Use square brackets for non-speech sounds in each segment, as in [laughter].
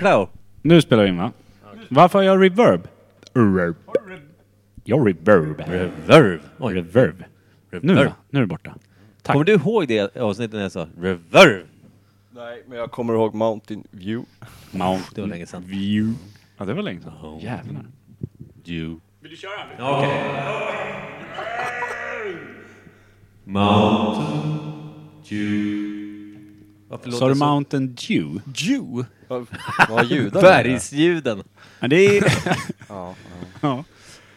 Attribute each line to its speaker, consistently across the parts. Speaker 1: Go.
Speaker 2: Nu spelar vi in va? Varför har jag reverb? Reverb. Jag reverb.
Speaker 1: Reverb. Oj.
Speaker 2: Reverb. Nu då? Nu är det borta. Tack.
Speaker 1: Kommer du ihåg det avsnittet när jag sa reverb?
Speaker 3: Nej, men jag kommer ihåg Mountain View.
Speaker 2: Mount
Speaker 1: Det var länge sedan.
Speaker 2: View. Ja, det var länge sedan. Oh. Jävlar.
Speaker 1: You.
Speaker 2: Vill du köra?
Speaker 1: Mountain Dew. Varför låter
Speaker 2: Sa du
Speaker 1: det så?
Speaker 2: Mountain Dew?
Speaker 3: Jew? Vad har judar?
Speaker 1: Bergsljuden.
Speaker 2: Men det är...
Speaker 4: [laughs]
Speaker 2: ja.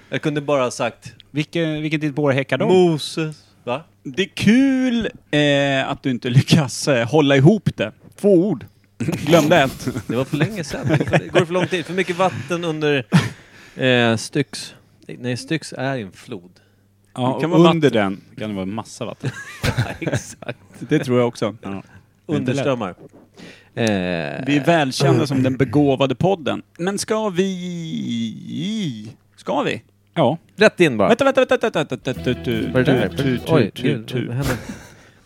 Speaker 1: Jag kunde bara ha sagt
Speaker 2: Vilken, vilken tid på året häckar de?
Speaker 1: Moses. Va?
Speaker 4: Det är kul eh, att du inte lyckas eh, hålla ihop det. Två ord. Glömde ett.
Speaker 1: Det var för länge sedan. Det går för- det går för lång tid. För mycket vatten under eh, Styx. Nej, Styx är en
Speaker 2: [laughs]
Speaker 1: flod.
Speaker 2: ja,
Speaker 4: Det kan vara
Speaker 2: under den kan det vara massa vatten.
Speaker 1: Exakt.
Speaker 4: [laughs] Det tror jag också.
Speaker 2: Ja.
Speaker 1: Underströmmar. Eh,
Speaker 4: Vi är välkända som den begåvade podden. Men ska vi... Ska vi?
Speaker 2: ja.
Speaker 1: Rätt in bara.
Speaker 4: Vänta, vänta, vänta, vänta, vänta, vänta, tu, tu,
Speaker 1: Vad är det
Speaker 4: tu,
Speaker 1: där?
Speaker 4: tu,
Speaker 1: Oj,
Speaker 4: tu,
Speaker 1: gud,
Speaker 4: tu.
Speaker 1: vad hände?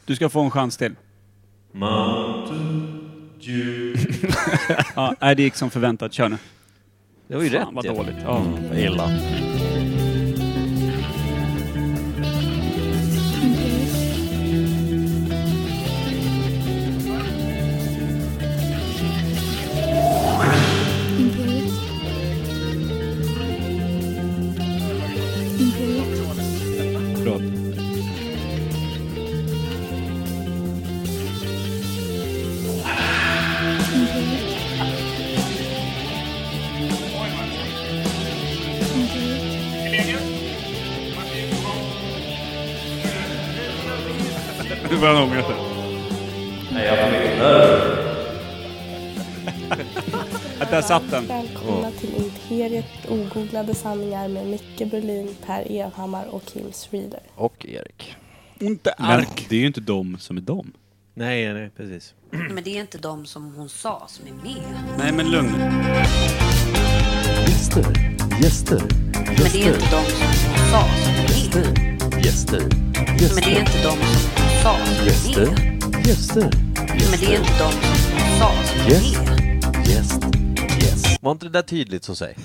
Speaker 4: Du ska få en chans till.
Speaker 1: [laughs]
Speaker 4: Ja, nej, det gick som förväntat. Kör nu.
Speaker 1: Det var ju
Speaker 4: Fan,
Speaker 1: rätt Mm.
Speaker 4: vad
Speaker 1: ju.
Speaker 4: dåligt. Ja.
Speaker 3: Illa.
Speaker 5: Imperiet. Imperiet.
Speaker 2: Förlåt.
Speaker 5: Imperiet.
Speaker 2: Nu börjar han ångra sig.
Speaker 4: [laughs] Att där satt den.
Speaker 6: Välkomna till Imperiet ogooglade sanningar med Micke Berlin, Per Evhammar och Kim Schreeder.
Speaker 3: Och Erik.
Speaker 4: Inte
Speaker 2: Men
Speaker 4: ark.
Speaker 2: det är ju inte de som är de.
Speaker 1: Nej, nej, precis.
Speaker 7: Men det är inte de som hon sa som är med.
Speaker 4: Nej, men lugn.
Speaker 8: Gäster, gäster,
Speaker 7: Men det är inte de som hon sa som är med.
Speaker 8: gäster,
Speaker 7: Men det är inte de som hon sa som är
Speaker 8: gäster,
Speaker 7: med.
Speaker 8: gäster,
Speaker 7: Men det är inte de som hon sa som är med.
Speaker 8: gäst, gäst.
Speaker 1: Var inte det där tydligt så
Speaker 4: [laughs]
Speaker 1: säg?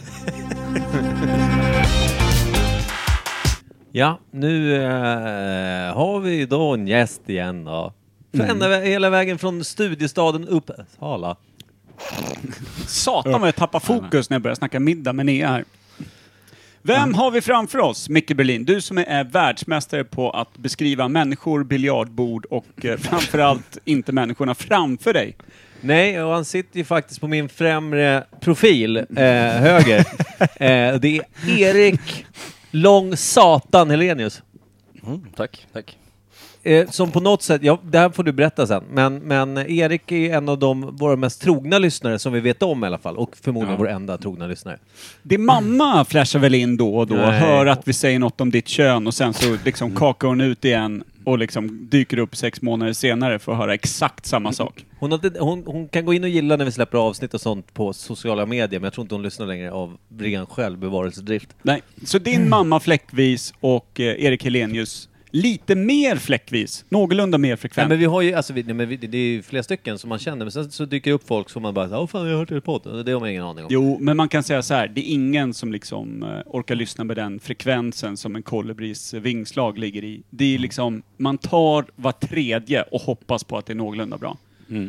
Speaker 1: ja, nu eh, har vi ju då en gäst igen då. För ända, vä- hela vägen från studiestaden Uppsala.
Speaker 4: Satan vad jag tappar fokus när jag börjar snacka middag med Nea här. Vem har vi framför oss, Micke Berlin? Du som är världsmästare på att beskriva människor, biljardbord och
Speaker 1: [laughs]
Speaker 4: eh, framförallt inte människorna framför dig.
Speaker 1: Nej, och han sitter ju faktiskt på min främre profil, eh, höger. eh, det är Erik Lång Satan Helenius.
Speaker 3: Tack, tack.
Speaker 1: Eh, som på något sätt, ja, det här får du berätta sen, men, men Erik är ju en av de, våra mest trogna lyssnare som vi vet om i alla fall, och förmodligen vår enda trogna lyssnare.
Speaker 4: Din mamma flashar väl in då och då,
Speaker 1: Nej. Mm.
Speaker 4: hör att vi säger något om ditt kön och sen så liksom kakar hon ut igen och liksom dyker upp sex månader senare för att höra exakt
Speaker 1: Mm.
Speaker 4: samma sak.
Speaker 1: Hon, har, inte- hon, hon kan gå in och gilla när vi släpper avsnitt och sånt på sociala medier, men jag tror inte hon lyssnar längre av ren självbevarelsedrift.
Speaker 4: Nej. Så
Speaker 1: Mm.
Speaker 4: din mamma fläckvis och eh, Erik Helenius lite mer fläckvis, någorlunda mer
Speaker 1: Nej,
Speaker 4: frekvent.
Speaker 1: men vi har ju, alltså, vi, nej, men vi, det är ju flera stycken som man känner, men sen så dyker det upp folk som man bara åh fan, jag har hört er podd. Och Det har man ingen aning om.
Speaker 4: Jo, men man kan säga så här, det är ingen som liksom eh, orkar lyssna med den frekvensen som en kolibris vingslag ligger i. Det är liksom, man tar var tredje och hoppas på att det är någorlunda bra. Erik,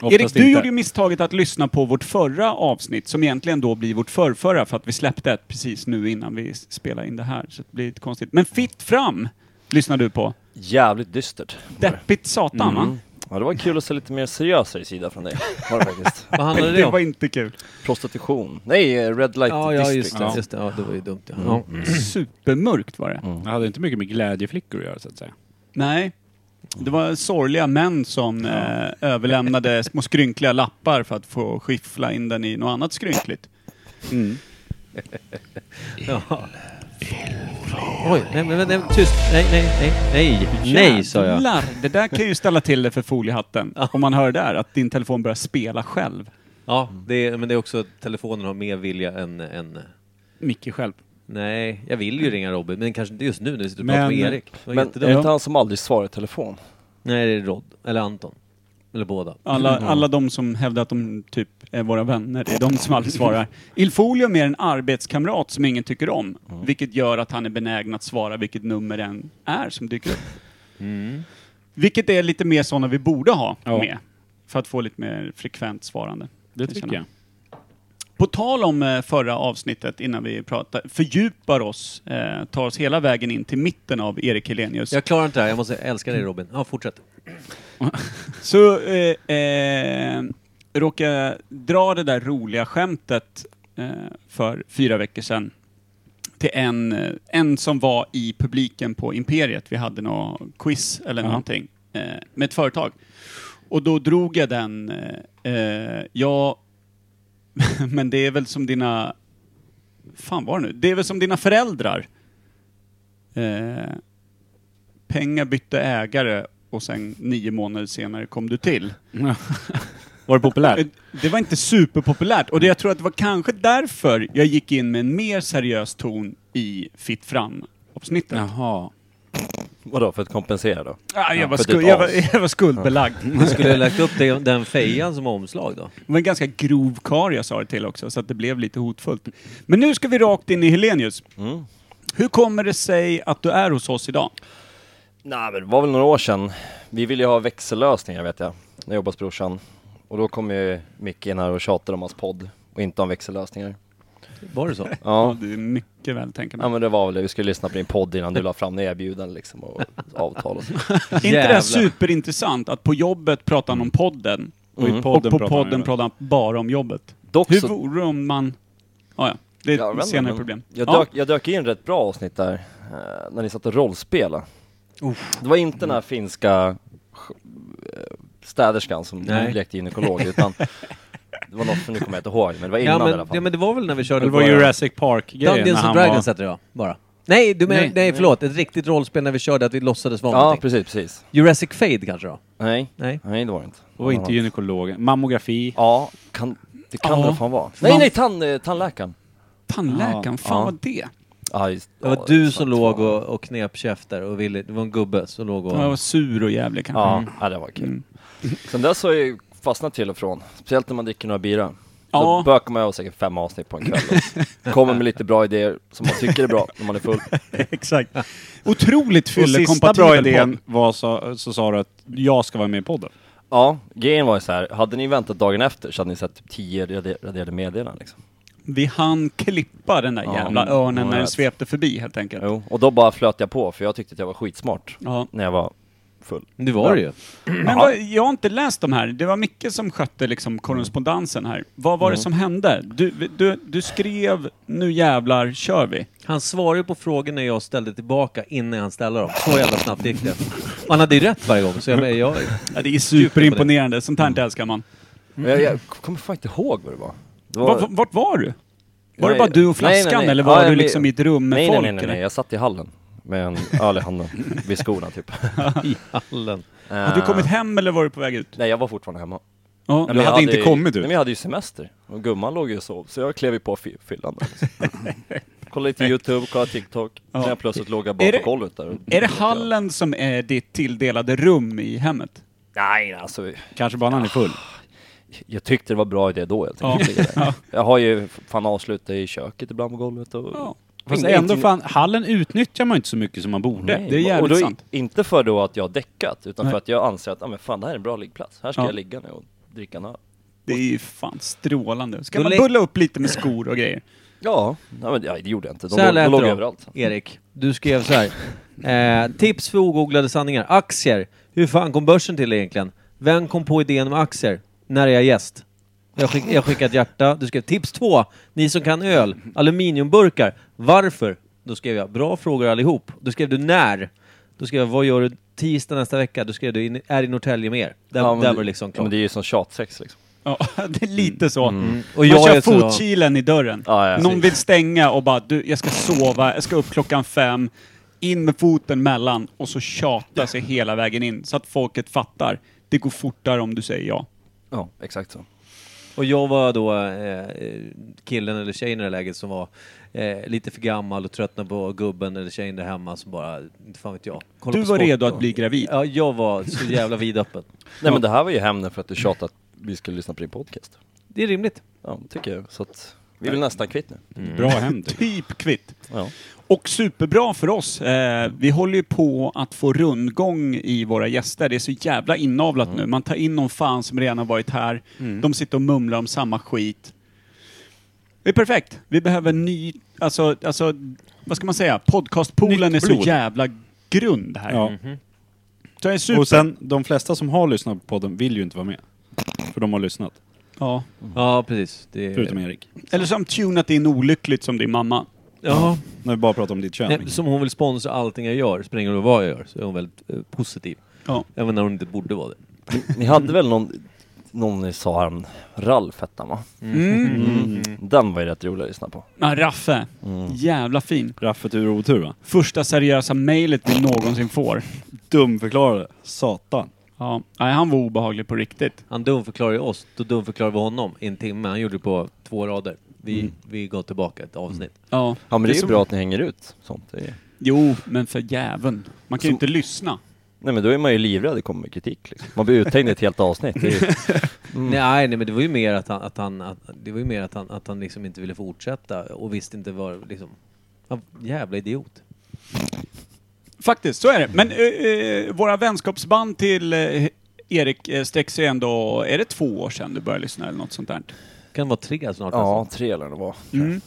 Speaker 2: Oftast
Speaker 4: du
Speaker 2: inte.
Speaker 4: gjorde ju misstaget att lyssna på vårt förra avsnitt, som egentligen då blir vårt förrförra, för att vi släppte ett precis nu innan vi s- spelade in det här, så det blir lite konstigt. Men Fitt fram lyssnar du på.
Speaker 3: Jävligt dystert. Mm.
Speaker 4: Deppigt satan, va?
Speaker 3: Ja, det var kul att se lite mer seriösare sida från dig. Var det faktiskt.
Speaker 1: Vad handlade det
Speaker 4: Det var
Speaker 1: om?
Speaker 4: inte kul.
Speaker 3: Prostitution. Nej, eh, Red Light
Speaker 1: Ja, ja,
Speaker 3: District.
Speaker 1: just det. Just det. Ja, det var ju dumt. Ja. Mm. Ja.
Speaker 4: Supermörkt var det.
Speaker 1: Mm.
Speaker 2: Jag hade inte mycket med glädjeflickor att göra så att säga.
Speaker 4: Nej. Det var sorgliga män som eh, överlämnade små skrynkliga lappar för att få skiffla in den i något annat skrynkligt.
Speaker 1: Mm. Oj, nej, men nej, tyst. Nej, nej, nej, nej. Nej, sa jag.
Speaker 4: Jävlar, Det där kan ju ställa till det för foliehatten. Om man hör det där, att din telefon börjar spela själv.
Speaker 1: Ja, det är, men det är också att telefonen har mer vilja än, än...
Speaker 2: Micke själv.
Speaker 1: Nej, jag vill ju ringa Robin, men kanske inte just nu när vi sitter och
Speaker 2: Men-
Speaker 1: pratar med Erik. Det var
Speaker 3: Men är
Speaker 1: jättedumt.
Speaker 3: det inte han som aldrig svarar i telefon?
Speaker 1: Nej, det är Rod. Eller Anton. Eller båda.
Speaker 4: Alla,
Speaker 2: Mm.
Speaker 4: alla de som hävdar att de typ är våra vänner, det är de som aldrig svarar. Ilfolium är en arbetskamrat som ingen tycker om,
Speaker 2: Mm.
Speaker 4: vilket gör att han är benägen att svara vilket nummer den är som dyker upp. Vilket är lite mer sådana vi borde ha
Speaker 2: Mm. Ja.
Speaker 4: med, för att få lite mer frekvent svarande.
Speaker 2: Det
Speaker 4: kan
Speaker 2: tycker
Speaker 4: känna.
Speaker 2: jag.
Speaker 4: På tal om eh, förra avsnittet, innan vi pratar, fördjupar oss, eh, tar oss hela vägen in till mitten av Erik Helenius.
Speaker 1: Jag klarar inte det här, jag måste älska dig Robin. Ja, fortsätt.
Speaker 4: Så eh, eh, råkade jag dra det där roliga skämtet eh, för fyra veckor sedan till en, eh, en som var i publiken på Imperiet. Vi hade något quiz eller någonting eh, med ett företag. Och då drog jag den, eh, eh, ja, [laughs] men det är väl som dina, fan var det nu? Det är väl som dina föräldrar. Eh, pengar bytte ägare och sen nio månader senare kom du till. Eh,
Speaker 2: Var det
Speaker 3: Eh,
Speaker 2: populärt?
Speaker 4: Det var inte superpopulärt och det, jag tror att det var kanske därför jag gick in med en mer seriös ton i Fitt fram-avsnittet.
Speaker 2: Jaha.
Speaker 3: Vadå, för att kompensera då?
Speaker 4: Ah, jag, var
Speaker 3: för ditt
Speaker 4: skuld, jag, var,
Speaker 3: as.
Speaker 4: jag var skuldbelagd.
Speaker 1: Du skulle ha lagt upp det- den fejan som omslag då.
Speaker 4: Det var en ganska grov karl jag sa det till också, så att det blev lite hotfullt. Men nu ska vi rakt in i Helenius. Hur kommer det sig att du är hos oss idag?
Speaker 3: Nej men det var väl några år sedan. Vi ville ju ha växellösningar vet jag, när jag jobbade hos brorsan. Och då kom ju Micke in här och tjatade om hans podd och inte om växellösningar.
Speaker 1: Var det så?
Speaker 3: Ja,
Speaker 4: Det är mycket väl tänker
Speaker 3: ja
Speaker 4: man.
Speaker 3: men det var väl det. Vi skulle lyssna på din podd innan du la fram dina erbjudanden liksom och avtal och så.
Speaker 4: Är inte det här superintressant att på jobbet pratar
Speaker 3: Mm.
Speaker 4: han om podden
Speaker 2: Och i
Speaker 4: och
Speaker 2: podden
Speaker 4: på
Speaker 2: pratar man
Speaker 4: podden
Speaker 2: ju-
Speaker 4: pratar han bara om jobbet?
Speaker 3: Dock
Speaker 4: Hur
Speaker 3: så-
Speaker 4: vore det om man... Ah, ja, det är ett
Speaker 3: Jag vet inte,
Speaker 4: senare
Speaker 3: men
Speaker 4: problem.
Speaker 3: Jag
Speaker 4: Ja.
Speaker 3: dök, jag dök in rätt bra avsnitt där, eh, när ni satt och rollspelade. Det var inte den här finska sj- eh, städerskan som
Speaker 1: Nej.
Speaker 3: lekte gynekolog, utan det var något som nu kommer jag inte ihåg, men det var
Speaker 1: Ja
Speaker 3: innan i alla
Speaker 1: men,
Speaker 3: fall.
Speaker 1: ja men det var väl när vi
Speaker 2: Det
Speaker 1: körde
Speaker 2: var
Speaker 1: våra-
Speaker 2: Jurassic Park-grejen när
Speaker 1: Dungeons
Speaker 2: han
Speaker 1: and Dragons
Speaker 2: var...
Speaker 1: hette jag bara. Nej, du menar,
Speaker 2: Nej.
Speaker 1: nej. förlåt. Ett riktigt rollspel när vi körde att vi låtsades vara
Speaker 3: ja,
Speaker 1: någonting.
Speaker 3: precis, precis.
Speaker 1: Jurassic Fade kanske då?
Speaker 3: Nej,
Speaker 1: Nej.
Speaker 3: nej det var det inte.
Speaker 2: Och inte gynekologen. Mammografi.
Speaker 3: Ja, kan, det kan
Speaker 4: Ja.
Speaker 3: det fan vara. Nej,
Speaker 4: Man-
Speaker 3: nej, tann, eh, tandläkaren.
Speaker 4: Tandläkaren,
Speaker 2: Ja,
Speaker 4: fan
Speaker 3: ja.
Speaker 4: vad det?
Speaker 3: Ja, just,
Speaker 1: Det var
Speaker 3: ja,
Speaker 1: du
Speaker 3: exakt,
Speaker 1: som
Speaker 3: det
Speaker 1: låg
Speaker 3: var-
Speaker 1: och, och knep käfter och ville, det var en gubbe som låg och...
Speaker 4: Jag var sur och jävlig kanske. Mm.
Speaker 3: Ja, ja, det var kul.
Speaker 2: [laughs]
Speaker 3: Sen dess har jag ju fastnat till och från, speciellt när man dricker några bira.
Speaker 4: Ja.
Speaker 3: Då bökar man ju av säkert fem avsnitt på
Speaker 4: [laughs]
Speaker 3: en kväll. och Kommer med lite bra idéer som man tycker är bra när man är full.
Speaker 4: Exakt. [laughs] Otroligt
Speaker 2: Och sista bra
Speaker 4: fyllekompatibel
Speaker 2: idén
Speaker 4: podd.
Speaker 2: var så, så sa du att jag ska vara med i podden.
Speaker 3: Ja, grejen var ju så här. hade ni väntat dagen efter så hade ni sett typ tio rade- raderade meddelanden liksom.
Speaker 4: Vi hann klippa den där
Speaker 3: Ja.
Speaker 4: jävla örnen
Speaker 3: Ja,
Speaker 4: när den
Speaker 3: jag-
Speaker 4: svepte förbi helt enkelt.
Speaker 3: Jo, och då bara flöt jag på för jag tyckte att jag var skitsmart
Speaker 4: Ja.
Speaker 3: när jag var full.
Speaker 1: Det var det ju.
Speaker 4: Men vad, jag har inte läst de här. Det var Micke som skötte liksom korrespondensen här. Vad var det som hände? Du, du, du skrev ”Nu jävlar kör vi”.
Speaker 1: Han svarade ju på frågorna jag ställde tillbaka innan han ställde dem. Så jävla snabbt gick det. Och han hade ju rätt varje gång, så jag, men
Speaker 2: [laughs]
Speaker 1: jag
Speaker 4: Ja, det är superimponerande. Sånt här
Speaker 3: Mm.
Speaker 4: inte älskar man. Mm.
Speaker 3: Men jag, jag kommer fan inte ihåg vad det var. Det var-
Speaker 4: Vart, vart var du? Var det
Speaker 3: Nej,
Speaker 4: bara du och
Speaker 3: nej, nej,
Speaker 4: flaskan
Speaker 3: nej.
Speaker 4: eller var
Speaker 3: Ja,
Speaker 4: du
Speaker 3: men-
Speaker 4: liksom i ett rum med
Speaker 3: nej,
Speaker 4: folk?
Speaker 3: Nej, nej, nej,
Speaker 4: eller?
Speaker 3: jag satt i hallen med en öl i handen vid
Speaker 4: [laughs]
Speaker 3: skorna typ.
Speaker 1: i hallen.
Speaker 4: Har du kommit hem eller var du på väg ut?
Speaker 3: Eh, Nej, jag var fortfarande hemma.
Speaker 4: Ja.
Speaker 3: Nej,
Speaker 2: Du
Speaker 3: men jag
Speaker 2: hade inte
Speaker 3: ju-
Speaker 2: kommit
Speaker 3: Nej,
Speaker 2: ut.
Speaker 3: men jag hade ju semester. Och gumman låg ju och sov, så jag klev ju på fy- fyllan. där, liksom.
Speaker 4: [laughs]
Speaker 3: Kollade lite YouTube, kollade TikTok. Sen jag plötsligt låg jag bara
Speaker 4: Är det-
Speaker 3: på golvet där. och-
Speaker 4: Är det hallen som är ditt tilldelade rum i hemmet?
Speaker 3: Nej, nej, alltså.
Speaker 2: Kanske bara när han är full.
Speaker 3: Jag tyckte det var bra idé då helt
Speaker 4: Ja.
Speaker 3: [laughs] enkelt. Jag har ju fan avslutat i köket ibland på golvet och...
Speaker 4: Ja.
Speaker 2: Fast
Speaker 3: Ingenting-
Speaker 2: ändå fan, hallen utnyttjar man inte så mycket som man borde.
Speaker 3: Nej,
Speaker 4: det är jävligt
Speaker 3: och då,
Speaker 4: sant.
Speaker 3: Inte för då att jag har däckat, utan
Speaker 4: Nej.
Speaker 3: för att jag anser att, ah, men fan det här är en bra liggplats. Här ska
Speaker 4: Ja.
Speaker 3: jag ligga nu och dricka en öl.
Speaker 4: Det är ju fan strålande. Ska
Speaker 1: Då
Speaker 4: man
Speaker 1: lä-
Speaker 4: bulla upp lite med skor och grejer?
Speaker 3: Ja, nej, men, ja, det gjorde jag inte. De,
Speaker 1: Så här
Speaker 3: låg- de
Speaker 1: lät
Speaker 3: låg
Speaker 1: det då,
Speaker 3: överallt.
Speaker 1: Erik. Du skrev så här. Eh, tips för ogooglade sanningar. Aktier. Hur fan kom börsen till egentligen? Vem kom på idén om aktier? När är jag gäst? Jag, skick, jag skickade ett hjärta. Du skrev tips två. Ni som kan öl. Aluminiumburkar. Varför? Då skrev jag bra frågor allihop. Då skrev du när. Då skrev jag vad gör du tisdag nästa vecka? Då skrev du "In- är i Norrtälje med er. Där,
Speaker 3: Ja, men
Speaker 1: där
Speaker 3: det-
Speaker 1: var det liksom
Speaker 3: ja,
Speaker 1: klart.
Speaker 3: men det är ju som tjatsex liksom.
Speaker 4: [laughs] Ja, det är lite så.
Speaker 1: Mm. Och
Speaker 4: man
Speaker 1: jag
Speaker 4: kör
Speaker 1: är så-
Speaker 4: fotkilen i dörren.
Speaker 3: Ja, ja,
Speaker 4: Någon
Speaker 3: precis.
Speaker 4: vill stänga och bara du, jag ska sova, jag ska upp klockan fem. In med foten mellan och så tjata sig hela vägen in så att folket fattar. Det går fortare om du säger ja.
Speaker 3: Ja, exakt så.
Speaker 1: Och jag var då eh, eh, killen eller tjejen i det här läget som var eh, lite för gammal och tröttnade på gubben eller tjejen där hemma som bara, inte fan vet jag. kollade
Speaker 4: Du
Speaker 1: på
Speaker 4: var
Speaker 1: sport
Speaker 4: redo
Speaker 1: och-
Speaker 4: att bli gravid.
Speaker 1: Ja, jag var så jävla vidöppen.
Speaker 3: Nej men det här var ju hämnden för att du tjatade att vi skulle lyssna på din podcast.
Speaker 1: Det är rimligt.
Speaker 3: Ja, tycker jag. Så att Mm. vi är väl nästan kvitt nu.
Speaker 2: Bra hem.
Speaker 4: Typ kvitt.
Speaker 3: Ja.
Speaker 4: Och superbra för oss. Eh, vi håller ju på att få rundgång i våra gäster. Det är så jävla inavlat
Speaker 2: Mm.
Speaker 4: nu. Man tar in någon fan som redan har varit här. De sitter och mumlar om samma skit. Det är perfekt. Vi behöver ny, alltså, alltså vad ska man säga? Podcastpoolen
Speaker 2: Nytt
Speaker 4: är så
Speaker 2: blod.
Speaker 4: jävla grund här. Mm-hmm.
Speaker 2: Ja.
Speaker 4: Så jag är super.
Speaker 2: Och sen, de flesta som har lyssnat på podden vill ju inte vara med. För de har lyssnat.
Speaker 4: ja.
Speaker 1: Ja, precis. Det är...
Speaker 2: Förutom Erik.
Speaker 4: Eller som tunat in olyckligt som din mamma.
Speaker 1: Ja,
Speaker 2: När vi bara pratar om ditt kön.
Speaker 1: nej, som hon vill sponsra allting jag gör, spelar ingen roll vad jag gör, så är hon väldigt eh, positiv.
Speaker 4: Ja.
Speaker 1: Även när hon inte borde vara det.
Speaker 3: [laughs] Ni hade väl någon, någon ni sa här, Ralf hette han va? Mm. Den var ju rätt rolig att lyssna på.
Speaker 4: Ja, Raffe.
Speaker 2: Mm.
Speaker 4: Jävla fin.
Speaker 2: Raffet ur otur va?
Speaker 4: Första seriösa mejlet vi någonsin får.
Speaker 2: Dumförklarade. Satan.
Speaker 4: Ja, nej, han var obehaglig på riktigt.
Speaker 1: Han dumförklarar ju oss, då dumförklarar vi honom i en timme. Han gjorde det på två rader. Vi,
Speaker 4: Mm.
Speaker 1: vi går tillbaka ett avsnitt.
Speaker 4: Ja.
Speaker 3: Ja men det är ju
Speaker 4: som-
Speaker 3: bra att ni hänger ut sånt. Det är...
Speaker 4: Jo, men för jäveln. Man kan ju inte lyssna.
Speaker 3: Nej men då är man ju livrädd, det kommer kritik liksom. Man blir uthängd i ett helt avsnitt. Det är ju...
Speaker 4: Mm.
Speaker 1: Nej, nej, men det var ju mer att han, att han, att, det var ju mer att han, att han liksom inte ville fortsätta och visste inte var liksom... Han, jävla idiot.
Speaker 4: Faktiskt, så är det. Men eh, eh, våra vänskapsband till eh, Erik eh, sträcker sig ändå... Är det två år sedan du började lyssna eller något sånt där?
Speaker 1: Kan vara tre snart
Speaker 3: [laughs] Ja,
Speaker 1: alltså.
Speaker 3: tre eller det var.
Speaker 4: Mm.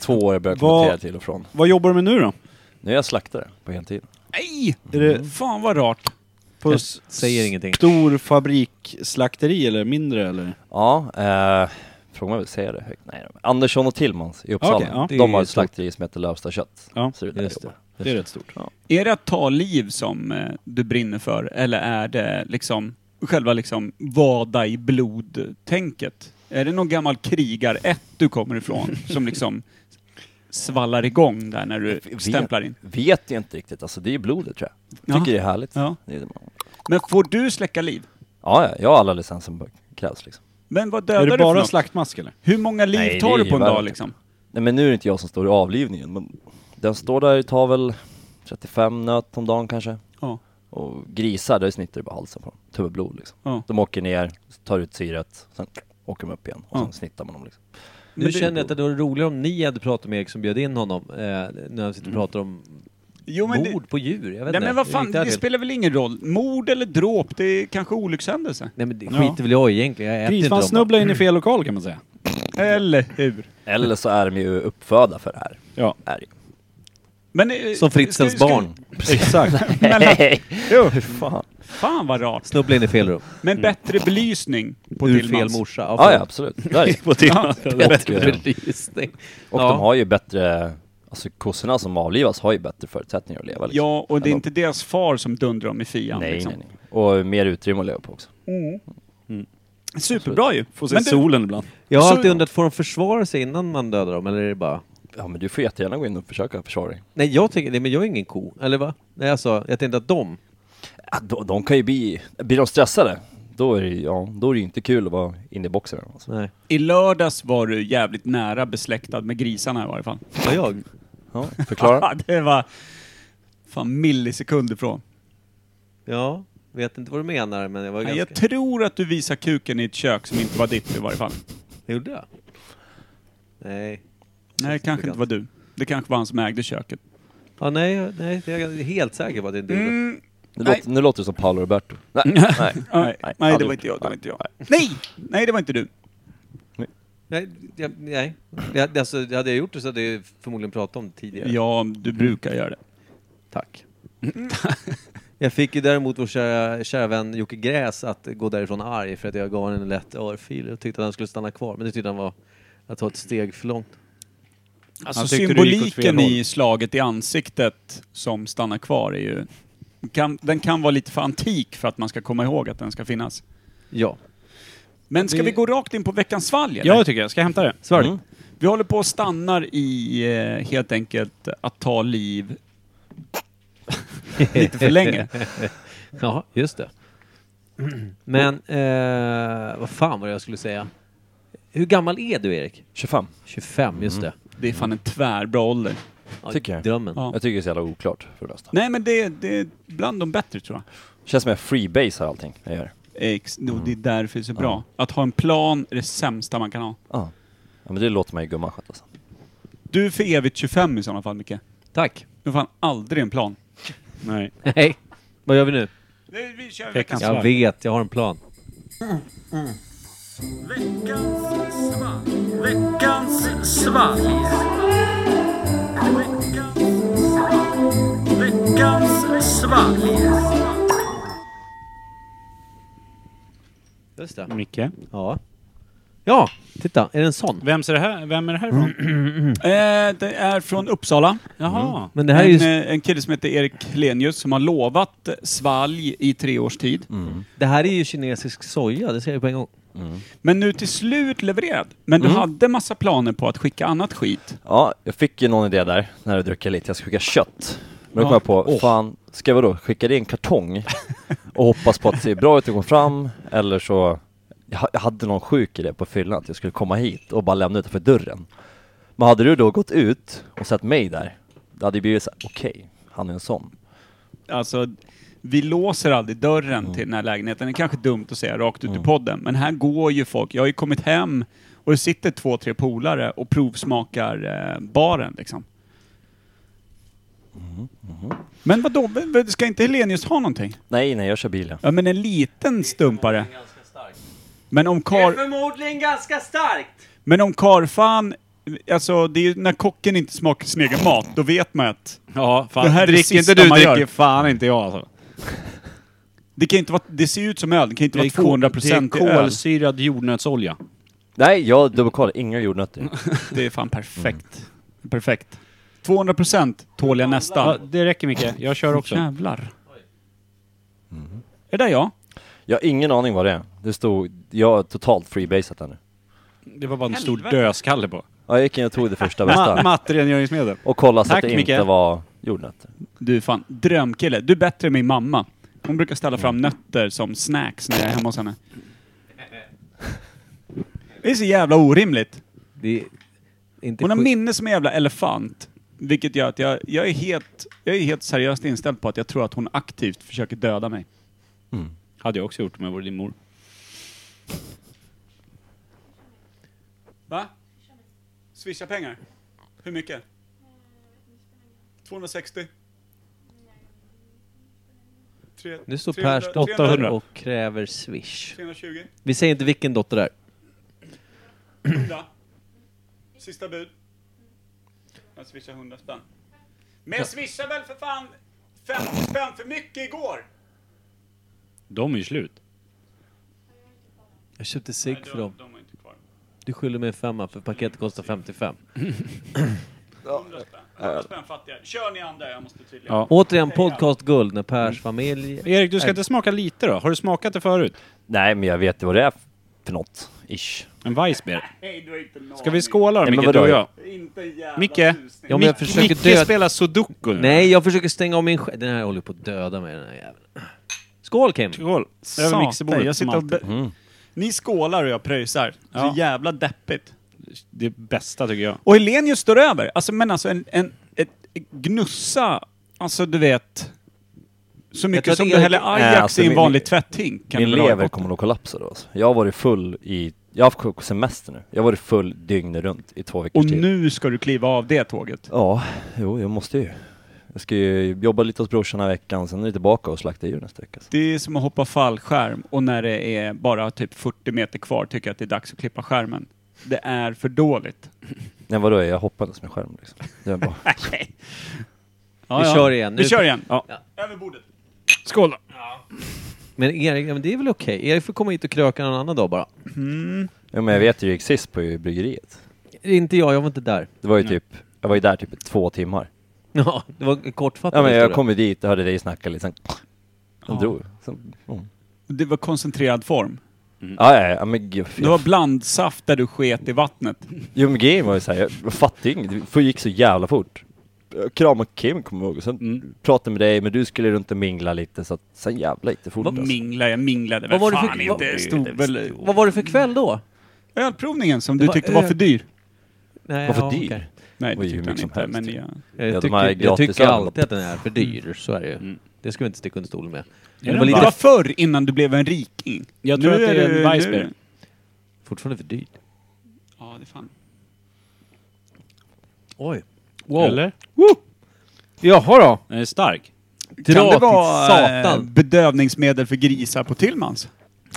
Speaker 3: Två år jag började
Speaker 2: Vad-
Speaker 3: kommentera till och från.
Speaker 2: Vad jobbar du med nu då?
Speaker 3: Nu är jag slaktare på heltid.
Speaker 4: Nej!
Speaker 2: Är det
Speaker 4: Fan vad rart.
Speaker 2: på
Speaker 1: Jag
Speaker 2: s-
Speaker 1: säger ingenting.
Speaker 2: stor fabriksslakteri eller mindre eller?
Speaker 3: Ja, eh, frågar man vill säga det högt? Nej, Andersson och Tillmans i Uppsala.
Speaker 2: Okej, ja.
Speaker 3: De har ett
Speaker 1: Det är
Speaker 3: slakteri som heter Lövsta kött.
Speaker 2: Ja,
Speaker 3: Så det är där
Speaker 1: just
Speaker 3: jag jobbar.
Speaker 2: Det är rätt stort.
Speaker 4: Är det att ta liv som eh, du brinner för eller är det liksom själva liksom vada i blod-tänket? Är det någon gammal krigar-ett du kommer ifrån
Speaker 2: [laughs]
Speaker 4: som liksom svallar igång där när du
Speaker 3: vet.
Speaker 4: stämplar in?
Speaker 3: Vet ju inte riktigt, alltså det är ju blodet tror jag.
Speaker 4: Ja.
Speaker 3: Tycker det är härligt.
Speaker 4: Ja.
Speaker 3: Det är det man-
Speaker 4: Men får du släcka liv?
Speaker 3: Ja, ja, jag har alla licenser som krävs liksom.
Speaker 4: Men vad
Speaker 2: Är
Speaker 4: dödar
Speaker 2: det
Speaker 4: du för
Speaker 2: bara
Speaker 4: något?
Speaker 2: slaktmask eller?
Speaker 4: Hur många liv
Speaker 3: Nej,
Speaker 4: tar
Speaker 3: det är
Speaker 4: du på en
Speaker 3: ju
Speaker 4: dag
Speaker 3: värt.
Speaker 4: liksom?
Speaker 3: Nej men nu är det inte jag som står i avlivningen, men den står där och tar väl 35 nöt om dagen kanske.
Speaker 4: Ja.
Speaker 3: Och grisar, där snittar det bara halsen på dem. Tuber blod liksom.
Speaker 4: Ja.
Speaker 3: De åker ner, tar ut syret, sen åker de upp igen och
Speaker 4: Ja.
Speaker 3: sen snittar man dem liksom.
Speaker 1: Nu
Speaker 4: Men det-
Speaker 1: känner jag att det vore roligare om ni hade pratat med Erik som bjöd in honom, eh, när han
Speaker 4: Mm.
Speaker 1: sitter och pratar om
Speaker 4: Jo men, det,
Speaker 1: mord på djur. Jag vet
Speaker 4: nej,
Speaker 1: inte.
Speaker 4: men vad
Speaker 1: Det är
Speaker 4: fan,
Speaker 1: inte
Speaker 4: det
Speaker 1: adult.
Speaker 4: spelar väl ingen roll. Mord eller dråp, det är kanske olyckshändelse.
Speaker 1: Nej men det
Speaker 2: Ja.
Speaker 1: skiter väl jag i egentligen. Jag äter inte
Speaker 2: Grisfan
Speaker 1: dem.
Speaker 2: snubblar in i fel lokal kan man säga.
Speaker 4: Eller hur?
Speaker 3: Eller så är de ju uppfödda för det här.
Speaker 2: Ja,
Speaker 3: Är det ju.
Speaker 4: Men, eh,
Speaker 1: Som Fritzens
Speaker 4: ska- ska-
Speaker 1: barn.
Speaker 2: exakt.
Speaker 3: Nej!
Speaker 4: Jo,
Speaker 3: Hur fan?
Speaker 4: fan vad
Speaker 1: [laughs]
Speaker 4: rart.
Speaker 1: Snubbla in i fel rum.
Speaker 4: Men bättre belysning på
Speaker 1: Mm. Ur fel
Speaker 4: Tillmans.
Speaker 1: morsa.
Speaker 3: Ja, ja absolut. Där är det.
Speaker 2: På timmen.
Speaker 4: [laughs]
Speaker 3: Bättre
Speaker 1: belysning.
Speaker 3: Och
Speaker 1: Ja.
Speaker 3: de har ju bättre, alltså kossorna som avlivas har ju bättre förutsättningar att leva liksom.
Speaker 4: Ja, och det är
Speaker 3: Ändå.
Speaker 4: inte deras far som dundrar om i fian.
Speaker 3: nej,
Speaker 4: liksom.
Speaker 3: nej, nej. Och mer utrymme att leva på också.
Speaker 4: Superbra ju.
Speaker 2: Får se
Speaker 4: Men du,
Speaker 2: solen ibland.
Speaker 1: Jag har
Speaker 4: Så-
Speaker 1: alltid undrat, får de försvara sig innan man dödar dem eller är det bara...
Speaker 3: Ja men du får jättegärna gå in och försöka försvara dig.
Speaker 1: Nej jag tänker, nej men jag är ingen ko, eller va? Nej alltså, jag tänkte att de...
Speaker 3: Ja, de, de kan ju bli, blir de stressade, då är det ju, ja, då är det ju inte kul att vara inne i boxen. Alltså.
Speaker 1: Nej.
Speaker 4: I lördags var du jävligt nära besläktad med grisarna i varje fall.
Speaker 1: Var jag?
Speaker 3: Ja,
Speaker 4: [laughs]
Speaker 3: förklara.
Speaker 4: det var fan millisekund ifrån.
Speaker 1: Ja, vet inte vad du menar men jag var
Speaker 4: Nej,
Speaker 1: ganska...
Speaker 4: jag tror att du visar kuken i ett kök som inte var ditt i varje fall.
Speaker 1: Gjorde jag? Nej.
Speaker 4: Nej, det kanske inte var du. Det kanske var han som ägde köket.
Speaker 1: Ja, nej, jag- nej, jag är helt säker på att det inte gjorde.
Speaker 3: Nu,
Speaker 4: Nej.
Speaker 3: låter, nu låter det som Paolo Roberto. Nej,
Speaker 4: [laughs]
Speaker 3: nej.
Speaker 4: Nej,
Speaker 3: nej,
Speaker 4: nej det
Speaker 3: aldrig
Speaker 4: var
Speaker 3: gjort.
Speaker 4: inte jag. Det var inte jag.
Speaker 3: Nej.
Speaker 4: Nej! Nej, det var inte du.
Speaker 1: Nej, jag, nej. Jag, alltså, hade jag gjort det så hade jag förmodligen pratat om det tidigare.
Speaker 4: Ja, du brukar göra det.
Speaker 1: Tack. [laughs] jag fick ju däremot vår kära, kära vän Jocke Gräs att gå därifrån arg för att jag gav honom en lätt örfil och tyckte att han skulle stanna kvar. Men det tyckte han var att ta ett steg för långt.
Speaker 4: Alltså
Speaker 2: Han tyckte det gick åt fel
Speaker 4: symboliken
Speaker 2: håll.
Speaker 4: i slaget i ansiktet som stannar kvar är ju... Kan, den kan vara lite för antik för att man ska komma ihåg att den ska finnas.
Speaker 1: Ja.
Speaker 4: Men ska
Speaker 2: Det-
Speaker 4: vi gå rakt in på veckans svalg eller?
Speaker 2: Ja, det tycker jag. Ska jag hämta det?
Speaker 1: Svarlig.
Speaker 3: Mm.
Speaker 4: Vi håller på och stannar i eh, helt enkelt att ta liv [laughs] lite för länge.
Speaker 1: Ja, just det. Men, eh, vad fan var det jag skulle säga? Hur gammal är du Erik?
Speaker 3: 25,
Speaker 1: 25, just det.
Speaker 4: Det är fan en tvärbra ålder.
Speaker 1: Ja,
Speaker 3: Mm. tycker jag.
Speaker 1: Drömmen.
Speaker 4: Ja.
Speaker 3: Jag tycker det är så jävla oklart för det mesta.
Speaker 4: Nej men det, det är bland de bättre tror jag.
Speaker 3: Känns som jag freebasar allting jag gör.
Speaker 4: Ex, och det är därför det är så bra. Att ha en plan är det sämsta man kan ha.
Speaker 3: Ja. ja men det låter man ju gumman sköta alltså. sen.
Speaker 4: Du är för evigt 25 i sådana fall Micke.
Speaker 1: Tack. [laughs]
Speaker 4: Du har fan aldrig en plan.
Speaker 2: Nej.
Speaker 1: Hej. Vad gör vi nu?
Speaker 4: Vi kör
Speaker 2: veckans
Speaker 1: Jag vet, jag har en plan.
Speaker 4: Veckans svalg. Veckans svalg.
Speaker 1: Just
Speaker 4: Mm.
Speaker 1: det.
Speaker 2: Micke.
Speaker 1: Ja. Ja, titta. Är det en sån?
Speaker 2: Vem är det här, Vem är det här ifrån?
Speaker 1: [clears throat]
Speaker 4: Eh, det är från Uppsala.
Speaker 2: Jaha.
Speaker 1: Mm. Men det här är ju...
Speaker 4: en, eh, en kille som heter Erik Helenius som har lovat svalg i tre års tid.
Speaker 1: Det här är ju kinesisk soja, det ser jag på en gång.
Speaker 4: Men nu till slut levererad. Men
Speaker 1: Mm.
Speaker 4: du hade massa planer på att skicka annat skit.
Speaker 3: Ja, jag fick ju någon idé där när jag druckit lite. Jag ska skicka kött. Men då kom
Speaker 4: Ja.
Speaker 3: jag på, fan, ska jag då skicka det i en
Speaker 2: [laughs]
Speaker 3: kartong och hoppas på att det ser bra ut och går fram? Eller så, jag ha- jag hade någon sjuk idé på fyllan att jag skulle komma hit och bara lämna utanför dörren. Men hade du då gått ut och sett mig där, det hade ju blivit såhär, okej, han är en sån.
Speaker 4: Alltså, vi låser aldrig dörren till den här lägenheten. Det är kanske dumt att säga rakt ut i podden, men här går ju folk. Jag har ju kommit hem och det sitter två, tre polare och provsmakar eh, baren liksom. Men vadå, V- v- ska inte Helenius ha någonting?
Speaker 3: Nej, nej, jag kör bil ja.
Speaker 4: Ja men en liten stumpare. Men om kar... Det är förmodligen ganska starkt! Men om karfan... Alltså det är ju när kocken inte smakar sin egen mat, då vet man att...
Speaker 2: Ja, fan.
Speaker 4: Det här är det
Speaker 2: dricker
Speaker 4: sista
Speaker 2: inte du,
Speaker 4: man
Speaker 2: dricker
Speaker 4: gör.
Speaker 2: fan inte jag alltså.
Speaker 4: Det kan inte vara... Det ser ut som öl, det kan inte vara 200 procent
Speaker 2: Det är
Speaker 4: öl.
Speaker 2: kolsyrad jordnötsolja.
Speaker 3: Nej, jag dubbelkollade, inga
Speaker 2: [laughs]
Speaker 3: jordnötter.
Speaker 4: Det är fan perfekt. Perfekt. 200 procent tål jag
Speaker 2: Mm. Ja,
Speaker 4: nästan.
Speaker 2: det räcker Micke. Jag kör också. Mm.
Speaker 4: Jävlar. Är det där jag?
Speaker 3: Jag har ingen aning vad det är. Det stod, jag har totalt freebasat här nu.
Speaker 2: Det var bara en stor dödskalle på.
Speaker 3: Ja, jag gick in och tog det första
Speaker 2: [laughs] Ma-
Speaker 3: bästa
Speaker 2: Mattrengöringsmedel.
Speaker 3: och kollade så
Speaker 2: Tack,
Speaker 3: att det inte
Speaker 2: Micke.
Speaker 3: var jordnötter.
Speaker 4: Du är fan drömkille. Du är bättre än min mamma. Hon brukar ställa
Speaker 2: Mm.
Speaker 4: fram nötter som snacks när jag är hemma hos henne. Det är så jävla orimligt.
Speaker 1: Det är inte
Speaker 4: Hon har
Speaker 1: sjuk-
Speaker 4: minne som en jävla elefant. Vilket gör att jag, jag, är helt, jag är helt seriöst inställd på att jag tror att hon aktivt försöker döda mig.
Speaker 1: Mm.
Speaker 2: Hade jag också gjort om jag vore din mor.
Speaker 4: Va? Swisha pengar? Hur mycket? 260? Tre-
Speaker 1: Nu står
Speaker 4: 300,
Speaker 1: Pers dotter
Speaker 4: 300,
Speaker 1: och kräver swish.
Speaker 4: 320?
Speaker 1: Vi säger inte vilken dotter det är.
Speaker 4: 100. Sista bud. Jag swishar 100 spänn. Men jag swishade väl för fan 50 spänn för mycket igår!
Speaker 2: De är ju slut.
Speaker 1: Jag köpte cigg för dem.
Speaker 4: De har inte kvar.
Speaker 1: Du skyller mig en femma för paketet kostar 55.
Speaker 4: 100 spänn. 100 spänn fattiga. Kör ni andra, jag måste tydligen.
Speaker 2: Ja.
Speaker 1: Återigen podcast guld när Pers familj...
Speaker 2: Erik, du ska inte smaka lite då? Har du smakat det förut?
Speaker 3: Nej, men jag vet ju vad det är för något, ish.
Speaker 2: En Weissbier.
Speaker 4: Nej, du har inte en
Speaker 2: Ska vi
Speaker 4: aning.
Speaker 2: skåla då
Speaker 3: Nej, men
Speaker 2: Micke, du och
Speaker 3: vadå?
Speaker 2: jag?
Speaker 4: Inte en jävla
Speaker 2: Micke?
Speaker 4: tusning.
Speaker 1: Ja, men jag försöker
Speaker 2: Micke
Speaker 1: döda-
Speaker 2: spelar sudoku nu.
Speaker 1: Nej, jag försöker stänga av min själ. Den här håller på att döda mig, den här jäveln. Skål Kim!
Speaker 2: Skål. Över
Speaker 4: Satan,
Speaker 2: mixerbordet
Speaker 4: jag
Speaker 2: som
Speaker 4: sitter och
Speaker 2: alltid. Mm.
Speaker 4: be- Ni skålar och jag pröjsar.
Speaker 2: Ja.
Speaker 4: Så jävla deppigt.
Speaker 2: Det bästa tycker jag.
Speaker 4: Och Helenius står över. Alltså, men alltså en, en ett gnussa, alltså du vet. Så
Speaker 1: tror
Speaker 4: mycket
Speaker 1: att
Speaker 4: som
Speaker 1: det
Speaker 4: du
Speaker 1: är-
Speaker 4: häller Ajax
Speaker 3: Nej, alltså,
Speaker 4: i en
Speaker 3: min-
Speaker 4: vanlig tvätthink. kan
Speaker 3: Min
Speaker 4: du väl ha i
Speaker 3: lever
Speaker 4: botten.
Speaker 3: kommer nog kollapsa då. Alltså. Jag har varit full i, jag har haft semester nu. Jag har varit full dygnet runt i två veckors
Speaker 4: Och
Speaker 3: tid.
Speaker 4: nu ska du kliva av det tåget.
Speaker 3: Ja, jo, jag måste ju. Jag ska ju jobba lite hos brorsan den här veckan, sen är det tillbaka och slakta djur nästa vecka. Så.
Speaker 4: Det är som att hoppa fallskärm och när det är bara typ 40 meter kvar tycker jag att det är dags att klippa skärmen. Det är för dåligt.
Speaker 3: Nej vadå, jag hoppades med skärm liksom. Det är bara,
Speaker 4: [laughs] Ja,
Speaker 1: Vi
Speaker 4: ja.
Speaker 1: kör igen. Nu-
Speaker 4: Vi kör igen.
Speaker 2: Ja.
Speaker 4: Över bordet.
Speaker 2: Skål då.
Speaker 1: Men Erik, ja, men det är väl okej? Erik får komma hit och kröka någon annan dag bara.
Speaker 3: ja, men jag vet ju hur det gick sist på bryggeriet.
Speaker 1: Inte jag, jag var inte där. [laughs]
Speaker 3: Det
Speaker 4: Mm.
Speaker 3: var ju typ, jag var ju där typ i två timmar.
Speaker 1: Ja, det var kortfattat.
Speaker 3: Ja men jag
Speaker 1: historia.
Speaker 3: kom ju dit och hörde dig snacka lite sen. De drog. Sen, mm.
Speaker 4: Det var koncentrerad form.
Speaker 3: ja, ja, ja, men gud.
Speaker 4: Det var blandsaft där du sket i vattnet.
Speaker 3: Jo men grejen var ju såhär, jag fattade ju inget, det gick så jävla fort. Jag kramade Kim kommer jag ihåg, och sen
Speaker 2: Mm.
Speaker 3: pratade med dig, men du skulle runt och mingla lite så att, sen jävla lite fort alltså.
Speaker 4: Mingla, jag minglade
Speaker 1: Vad
Speaker 4: väl
Speaker 1: var det för-
Speaker 4: fan
Speaker 1: vad-
Speaker 4: inte. Stod väl...
Speaker 1: Vad var det för kväll då?
Speaker 4: Ölprovningen som
Speaker 1: Det
Speaker 4: du
Speaker 1: var
Speaker 4: tyckte var
Speaker 1: öl.
Speaker 4: för dyr.
Speaker 1: Nej,
Speaker 3: Varför
Speaker 1: ja,
Speaker 3: dyr?
Speaker 1: okej.
Speaker 4: Nej,
Speaker 3: Oj,
Speaker 4: det
Speaker 3: hur
Speaker 4: tyckte han
Speaker 3: mycket som
Speaker 4: inte.
Speaker 3: helst.
Speaker 4: Men jag,
Speaker 1: Jag,
Speaker 3: Ja, de här
Speaker 1: tycker, jag tycker
Speaker 3: gratisölen.
Speaker 1: alltid att den är för dyr, så är det ju. Det ska vi inte sticka under stolen med. Men
Speaker 4: det,
Speaker 1: det
Speaker 4: var
Speaker 1: var lite
Speaker 4: förr innan du blev en riking.
Speaker 2: Jag tror
Speaker 4: Nu
Speaker 2: att det är en
Speaker 4: du-
Speaker 2: Weissbier.
Speaker 4: nu-
Speaker 1: fortfarande för dyrt.
Speaker 4: Ja, det är fan.
Speaker 1: Oj. Wow.
Speaker 2: Eller?
Speaker 1: Jaha då.
Speaker 2: Den är stark.
Speaker 1: Dra
Speaker 4: kan det
Speaker 1: till
Speaker 4: vara eh,
Speaker 1: satan.
Speaker 4: bedövningsmedel för grisar på Tillmans?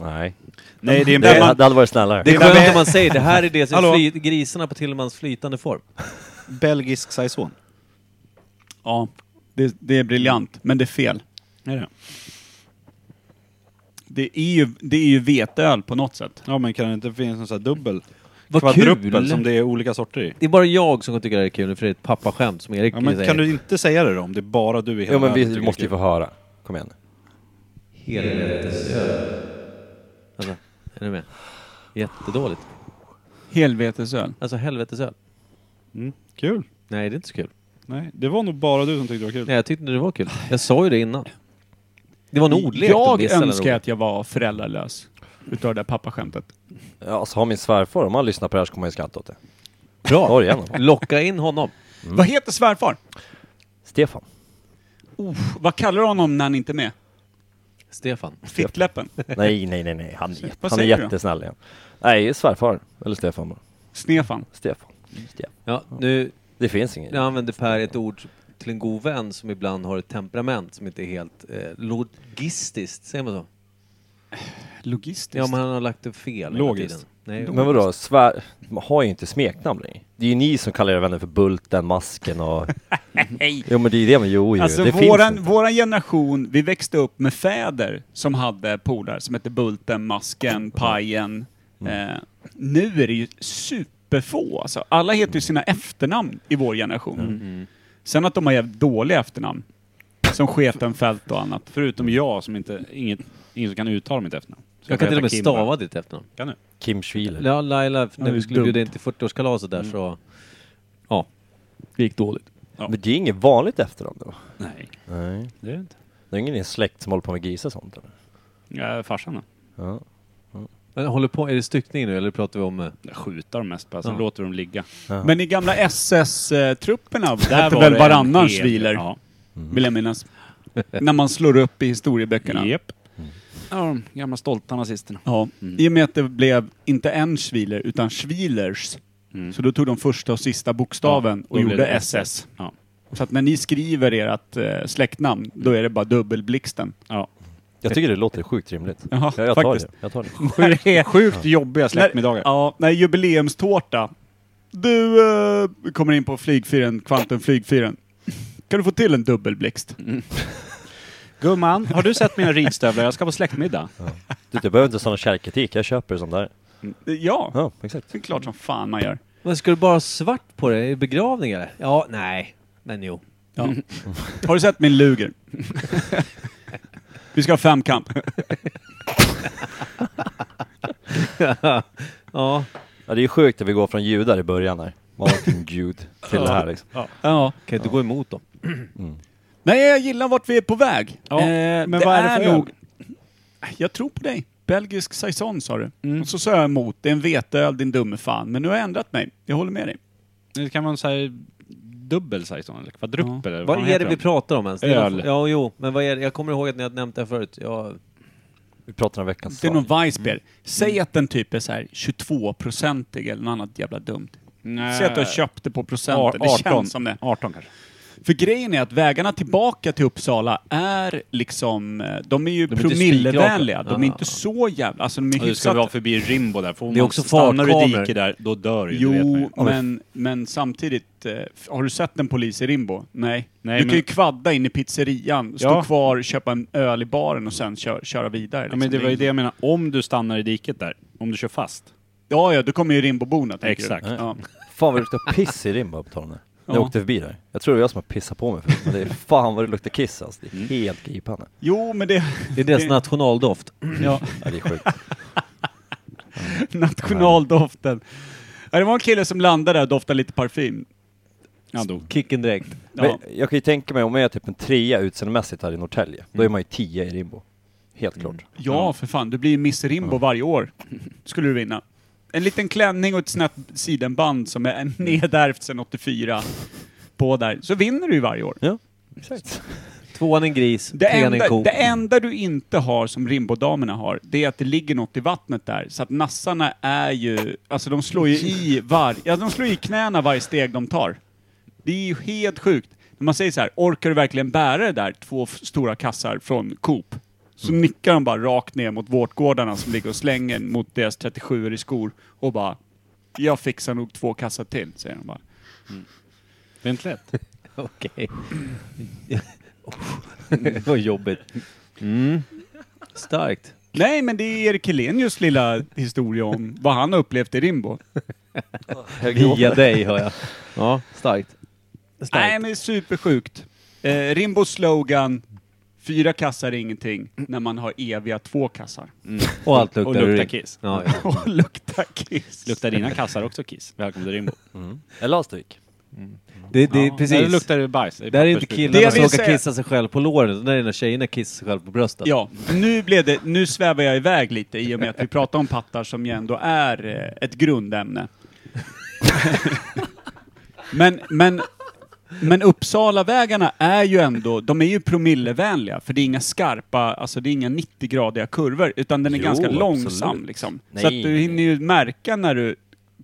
Speaker 3: Nej.
Speaker 2: Nej, det är en
Speaker 3: Det,
Speaker 2: bäver.
Speaker 3: det hade varit snällare.
Speaker 1: Det är
Speaker 4: Det där
Speaker 1: skönt
Speaker 4: med-
Speaker 1: om man säger det här är det som
Speaker 2: Hallå?
Speaker 1: fly, grisarna på Tillmans flytande form.
Speaker 8: Belgisk saison.
Speaker 4: Ja, det, det är briljant, men det är fel.
Speaker 2: Är det?
Speaker 4: Det är ju, det är ju veteöl på något sätt.
Speaker 2: Ja, men kan det inte finnas någon sån här dubbel?
Speaker 1: Vad
Speaker 2: kvadruppel
Speaker 1: kul.
Speaker 2: som det är olika sorter i?
Speaker 1: Det är bara jag som tycker det här är kul, för det är ett pappaskämt som Erik
Speaker 2: Ja, men
Speaker 1: säger
Speaker 2: kan du inte säga det då? Om det är bara du i hela
Speaker 3: Jo men vi,
Speaker 2: världen
Speaker 3: vi
Speaker 2: tycker
Speaker 3: måste
Speaker 2: det
Speaker 3: ju
Speaker 2: är
Speaker 3: få
Speaker 2: kul?
Speaker 3: höra. Kom igen.
Speaker 1: Helvetesöl. Alltså, är ni med? Jättedåligt.
Speaker 4: Helvetesöl.
Speaker 1: Alltså helvetesöl.
Speaker 2: Mm. Kul.
Speaker 1: Nej, det är inte så kul.
Speaker 2: Nej, det var nog bara du som tyckte det var kul.
Speaker 1: Nej, jag tyckte det var kul. Jag sa ju det innan. Det var en ordlek.
Speaker 4: Jag
Speaker 1: om vissa eller
Speaker 4: önskar
Speaker 1: något.
Speaker 4: att jag var föräldralös. Utav det där pappaskämtet.
Speaker 3: Ja, alltså har min svärfar, om han lyssnar på det här så kommer han ju skratta åt det. Bra! Sorry igen.
Speaker 1: Locka in honom.
Speaker 4: Vad heter svärfar?
Speaker 3: Stefan.
Speaker 4: Oh, vad kallar du honom när han inte är med?
Speaker 1: Stefan.
Speaker 4: Fittläppen?
Speaker 2: [laughs]
Speaker 3: Nej, nej, nej, nej. Han, är-
Speaker 4: Vad
Speaker 3: han är
Speaker 4: säger du då?
Speaker 3: jättesnäll igen. Nej, svärfar. Eller Stefan bara.
Speaker 4: Snefan?
Speaker 3: Stefan.
Speaker 2: Mm.
Speaker 3: Stefan.
Speaker 1: Ja, nu,
Speaker 3: Det finns ingen.
Speaker 1: nu använder Per ett ord till en god vän som ibland har ett temperament som inte är helt eh, logistiskt, säger man så?
Speaker 4: Logistiskt?
Speaker 1: Ja, men han har lagt det fel hela
Speaker 2: Logiskt.
Speaker 1: tiden. Nej,
Speaker 3: Men vadå, svär... Man har ju inte smeknamn längre. Det är ju ni som kallar era vänner för Bulten, Masken och...
Speaker 4: [laughs] Nej.
Speaker 3: Jo men det är ju det med jo, jo.
Speaker 4: Alltså
Speaker 3: det
Speaker 4: våran,
Speaker 3: finns
Speaker 4: våran generation, vi växte upp med fäder som hade polare som hette Bulten, Masken, Pajen.
Speaker 1: Mm.
Speaker 4: Eh, nu är det ju superfå alltså. Alla heter ju sina efternamn i vår generation.
Speaker 1: Mm.
Speaker 4: Sen att de har jävligt dåliga efternamn. Som Schetenfält och annat.
Speaker 2: Förutom jag som inte, inget, ingen som kan uttala mitt efternamn. Så
Speaker 1: Jag kan
Speaker 2: får
Speaker 1: till och
Speaker 2: heta
Speaker 1: med
Speaker 2: Kim
Speaker 1: stava
Speaker 2: bara.
Speaker 1: ditt efternamn.
Speaker 2: Kan du?
Speaker 3: Kim Schwiler.
Speaker 1: Ja, Laila,
Speaker 4: det
Speaker 1: när
Speaker 4: är
Speaker 1: vi skulle
Speaker 4: dumt.
Speaker 1: bjuda in till 40-årskalaset där så... Ja. Det gick dåligt.
Speaker 3: Men det är inget vanligt efternamn då?
Speaker 2: Nej,
Speaker 3: Nej.
Speaker 2: det är det inte.
Speaker 3: Det är ingen i din släkt som håller på med grisar och sånt eller?
Speaker 2: Ja, farsan då?
Speaker 3: Ja.
Speaker 1: Men håller på, är det styckning nu eller pratar vi om... eh,
Speaker 2: Jag skjuter dem mest bara, sen
Speaker 1: Ja.
Speaker 2: låter dem ligga.
Speaker 4: Men i gamla [laughs] SS-trupperna hette
Speaker 2: var
Speaker 4: väl
Speaker 2: det en
Speaker 4: varannan
Speaker 2: hel-
Speaker 4: sviler,
Speaker 2: Ja.
Speaker 4: vill jag minnas. När man slår upp i historieböckerna.
Speaker 2: Japp. Ja, de gamla stolta nazisterna.
Speaker 4: Ja, i och med att det blev inte en Schwiler utan Schwilers. Så då tog de första och sista bokstaven
Speaker 2: Ja, då
Speaker 4: och
Speaker 2: blev
Speaker 4: gjorde
Speaker 2: det
Speaker 4: SS.
Speaker 2: Ja.
Speaker 4: Så att när ni skriver ert eh, släktnamn, då är det bara dubbelblixten.
Speaker 2: ja.
Speaker 3: Jag tycker det låter sjukt rimligt.
Speaker 4: Jaha,
Speaker 3: ja, jag tar
Speaker 4: faktiskt.
Speaker 3: det. Jag tar
Speaker 4: [laughs]
Speaker 3: det.
Speaker 4: Sjukt,
Speaker 2: Sjukt jobbiga släktmiddagar.
Speaker 4: Ja, när jubileumstårta. Du eh, kommer in på flygfyren, kvantumflygfyren. Kan du få till en dubbelblixt?
Speaker 2: Gumman, har du sett mina ridstövlar? Jag ska på släktmiddag.
Speaker 3: Du, jag behöver inte sån kärlkritik, jag köper det som där.
Speaker 4: Ja,
Speaker 3: Ja, exakt.
Speaker 4: det är klart som fan man gör.
Speaker 1: Men ska du bara ha svart på det? Är det begravning eller? Ja, nej. Men jo.
Speaker 4: Ja. Har du sett min luger? Vi ska ha femkamp.
Speaker 1: Ja.
Speaker 3: Ja, det är ju sjukt att vi går från judar i början här. Man var inte en gud till det här liksom.
Speaker 4: Ja.
Speaker 1: Kan inte gå emot dem.
Speaker 4: Nej, jag gillar vart vi är på väg. Eh,
Speaker 2: Ja, men vad är det för öl?
Speaker 4: Jag tror på dig. Belgisk saison sa du.
Speaker 2: Mm.
Speaker 4: Och så sa jag emot, det är en veteöl din dumme fan. Men nu har jag ändrat mig. Jag håller med dig.
Speaker 2: Det kan vara en sån här dubbel saison, eller kvadruppel eller
Speaker 1: Vad
Speaker 2: fan
Speaker 1: är
Speaker 2: heter
Speaker 1: det vi
Speaker 2: de?
Speaker 1: pratar om ens? Det är
Speaker 2: Öl.
Speaker 1: någon- Ja, jo. Men vad är det? Jag kommer ihåg att ni hade nämnt det här förut. Ja.
Speaker 3: Vi pratar om veckans
Speaker 4: Det är
Speaker 3: svar.
Speaker 4: någon Weissbier.
Speaker 2: Mm.
Speaker 4: Säg att den typ är så här 22-procentig eller något annat jävla dumt.
Speaker 2: Nej.
Speaker 4: Säg att du har köpt det på procenten.
Speaker 2: Eh, Ar-
Speaker 4: Det känns som det.
Speaker 2: 18 kanske.
Speaker 4: För grejen är att vägarna tillbaka till Uppsala är liksom, eh, de är ju
Speaker 1: är inte
Speaker 4: promillevänliga.
Speaker 1: spikraka.
Speaker 4: De är
Speaker 1: Ja.
Speaker 4: inte så jävla, alltså de är
Speaker 2: Och du ska
Speaker 4: hyfsat
Speaker 2: vara förbi Rimbo där. Får
Speaker 1: Det är också
Speaker 2: stannar du i
Speaker 1: fartkameror.
Speaker 2: diket där, då dör du. det vet man ju.
Speaker 4: Jo, men, men samtidigt, eh, f- har du sett en polis i Rimbo? Nej.
Speaker 2: Nej,
Speaker 4: du
Speaker 2: men-
Speaker 4: kan ju kvadda in i pizzerian, stå
Speaker 2: Ja.
Speaker 4: kvar, köpa en öl i baren och sen kö köra vidare.
Speaker 2: Ja,
Speaker 4: liksom.
Speaker 2: men det var ju
Speaker 4: är-
Speaker 2: det jag menade. Om du stannar i diket där, om du kör fast.
Speaker 4: Ja, ja, då kommer ju Rimboborna, tänker
Speaker 2: Exakt.
Speaker 4: du. Ja.
Speaker 3: Fan vad det luktar piss i Rimbo på tal om det. När
Speaker 4: Ja.
Speaker 3: jag åkte förbi där. Jag tror det var jag som har pissat på mig förut,
Speaker 4: [laughs]
Speaker 3: men det är fan vad det luktar kiss alltså.
Speaker 4: Mm.
Speaker 3: Det är helt gripande.
Speaker 4: Jo, men det...
Speaker 1: Det är deras nationaldoft.
Speaker 4: ja,
Speaker 3: Ja, det är sjukt. [laughs]
Speaker 4: [laughs] nationaldoften. Ja, det var en kille som landade där och doftade lite parfym.
Speaker 2: Han dog.
Speaker 1: Kicken direkt.
Speaker 4: Ja.
Speaker 3: Men jag kan ju tänka mig, om jag är typ en trea utseendemässigt här i Norrtälje, då
Speaker 4: Mm.
Speaker 3: är man ju tia i Rimbo. Helt klart.
Speaker 4: Ja, för fan. Du blir ju Miss Rimbo varje år. Skulle du vinna. en liten klänning och ett snett sidenband som är [laughs] nedärvt sedan 84 på där, så vinner du ju varje år.
Speaker 3: Ja, [laughs] exakt.
Speaker 1: Tvåan en gris,
Speaker 4: Det
Speaker 1: trean en
Speaker 4: enda,
Speaker 1: ko.
Speaker 4: det enda du inte har som Rimbodamerna har, det är att det ligger något i vattnet där. Så att nassarna är ju, alltså de slår ju i var, ja, de slår i knäna varje steg de tar. Det är ju helt sjukt. När man säger så här, orkar du verkligen bära det där, två f- stora kassar från Coop? Så
Speaker 1: Mm.
Speaker 4: nickar de bara rakt ner mot vårtgårdarna som ligger och slänger mot deras 37 i skor och bara, jag fixar nog två kassar till, säger de bara.
Speaker 2: Det är inte lätt.
Speaker 1: [laughs] [laughs] Okej. [laughs] Det var Oh. jobbigt. Mm. Starkt.
Speaker 4: Nej, men det är Erik Helenius lilla historia om vad han har upplevt i Rimbo.
Speaker 3: Jag
Speaker 1: Via
Speaker 3: gråter.
Speaker 1: dig hör jag. Ja, starkt.
Speaker 4: Nej,
Speaker 1: starkt.
Speaker 4: men det är supersjukt. Eh, Rimbos slogan, fyra kassar är ingenting, när man har eviga två kassar.
Speaker 1: Och allt luktar
Speaker 2: Och luktar
Speaker 1: urin.
Speaker 2: kiss.
Speaker 1: Ja, ja.
Speaker 4: [laughs] Och lukta kiss.
Speaker 2: Luktar dina kassar också kiss? Välkommen till Rimbo.
Speaker 3: Eller avstryk.
Speaker 1: Det, det,
Speaker 2: Ja.
Speaker 1: Precis.
Speaker 2: Nej, det luktar bajs.
Speaker 1: Där är inte
Speaker 4: Det
Speaker 1: killarna
Speaker 4: vill
Speaker 1: som råkar
Speaker 4: säga-
Speaker 1: kissa sig själv på låren, utan där är när tjejerna kissar sig själv på bröstet.
Speaker 4: Ja, nu, blev det, nu svävar jag iväg lite i och med att vi pratar om pattar som ju ändå är eh, ett grundämne. [laughs] men, men, men Uppsalavägarna är ju ändå, de är ju promillevänliga, för det är inga skarpa, alltså det är inga 90-gradiga kurvor, utan den är
Speaker 3: Jo,
Speaker 4: ganska långsam
Speaker 3: absolut.
Speaker 4: liksom.
Speaker 3: Nej.
Speaker 4: Så att du hinner ju märka när du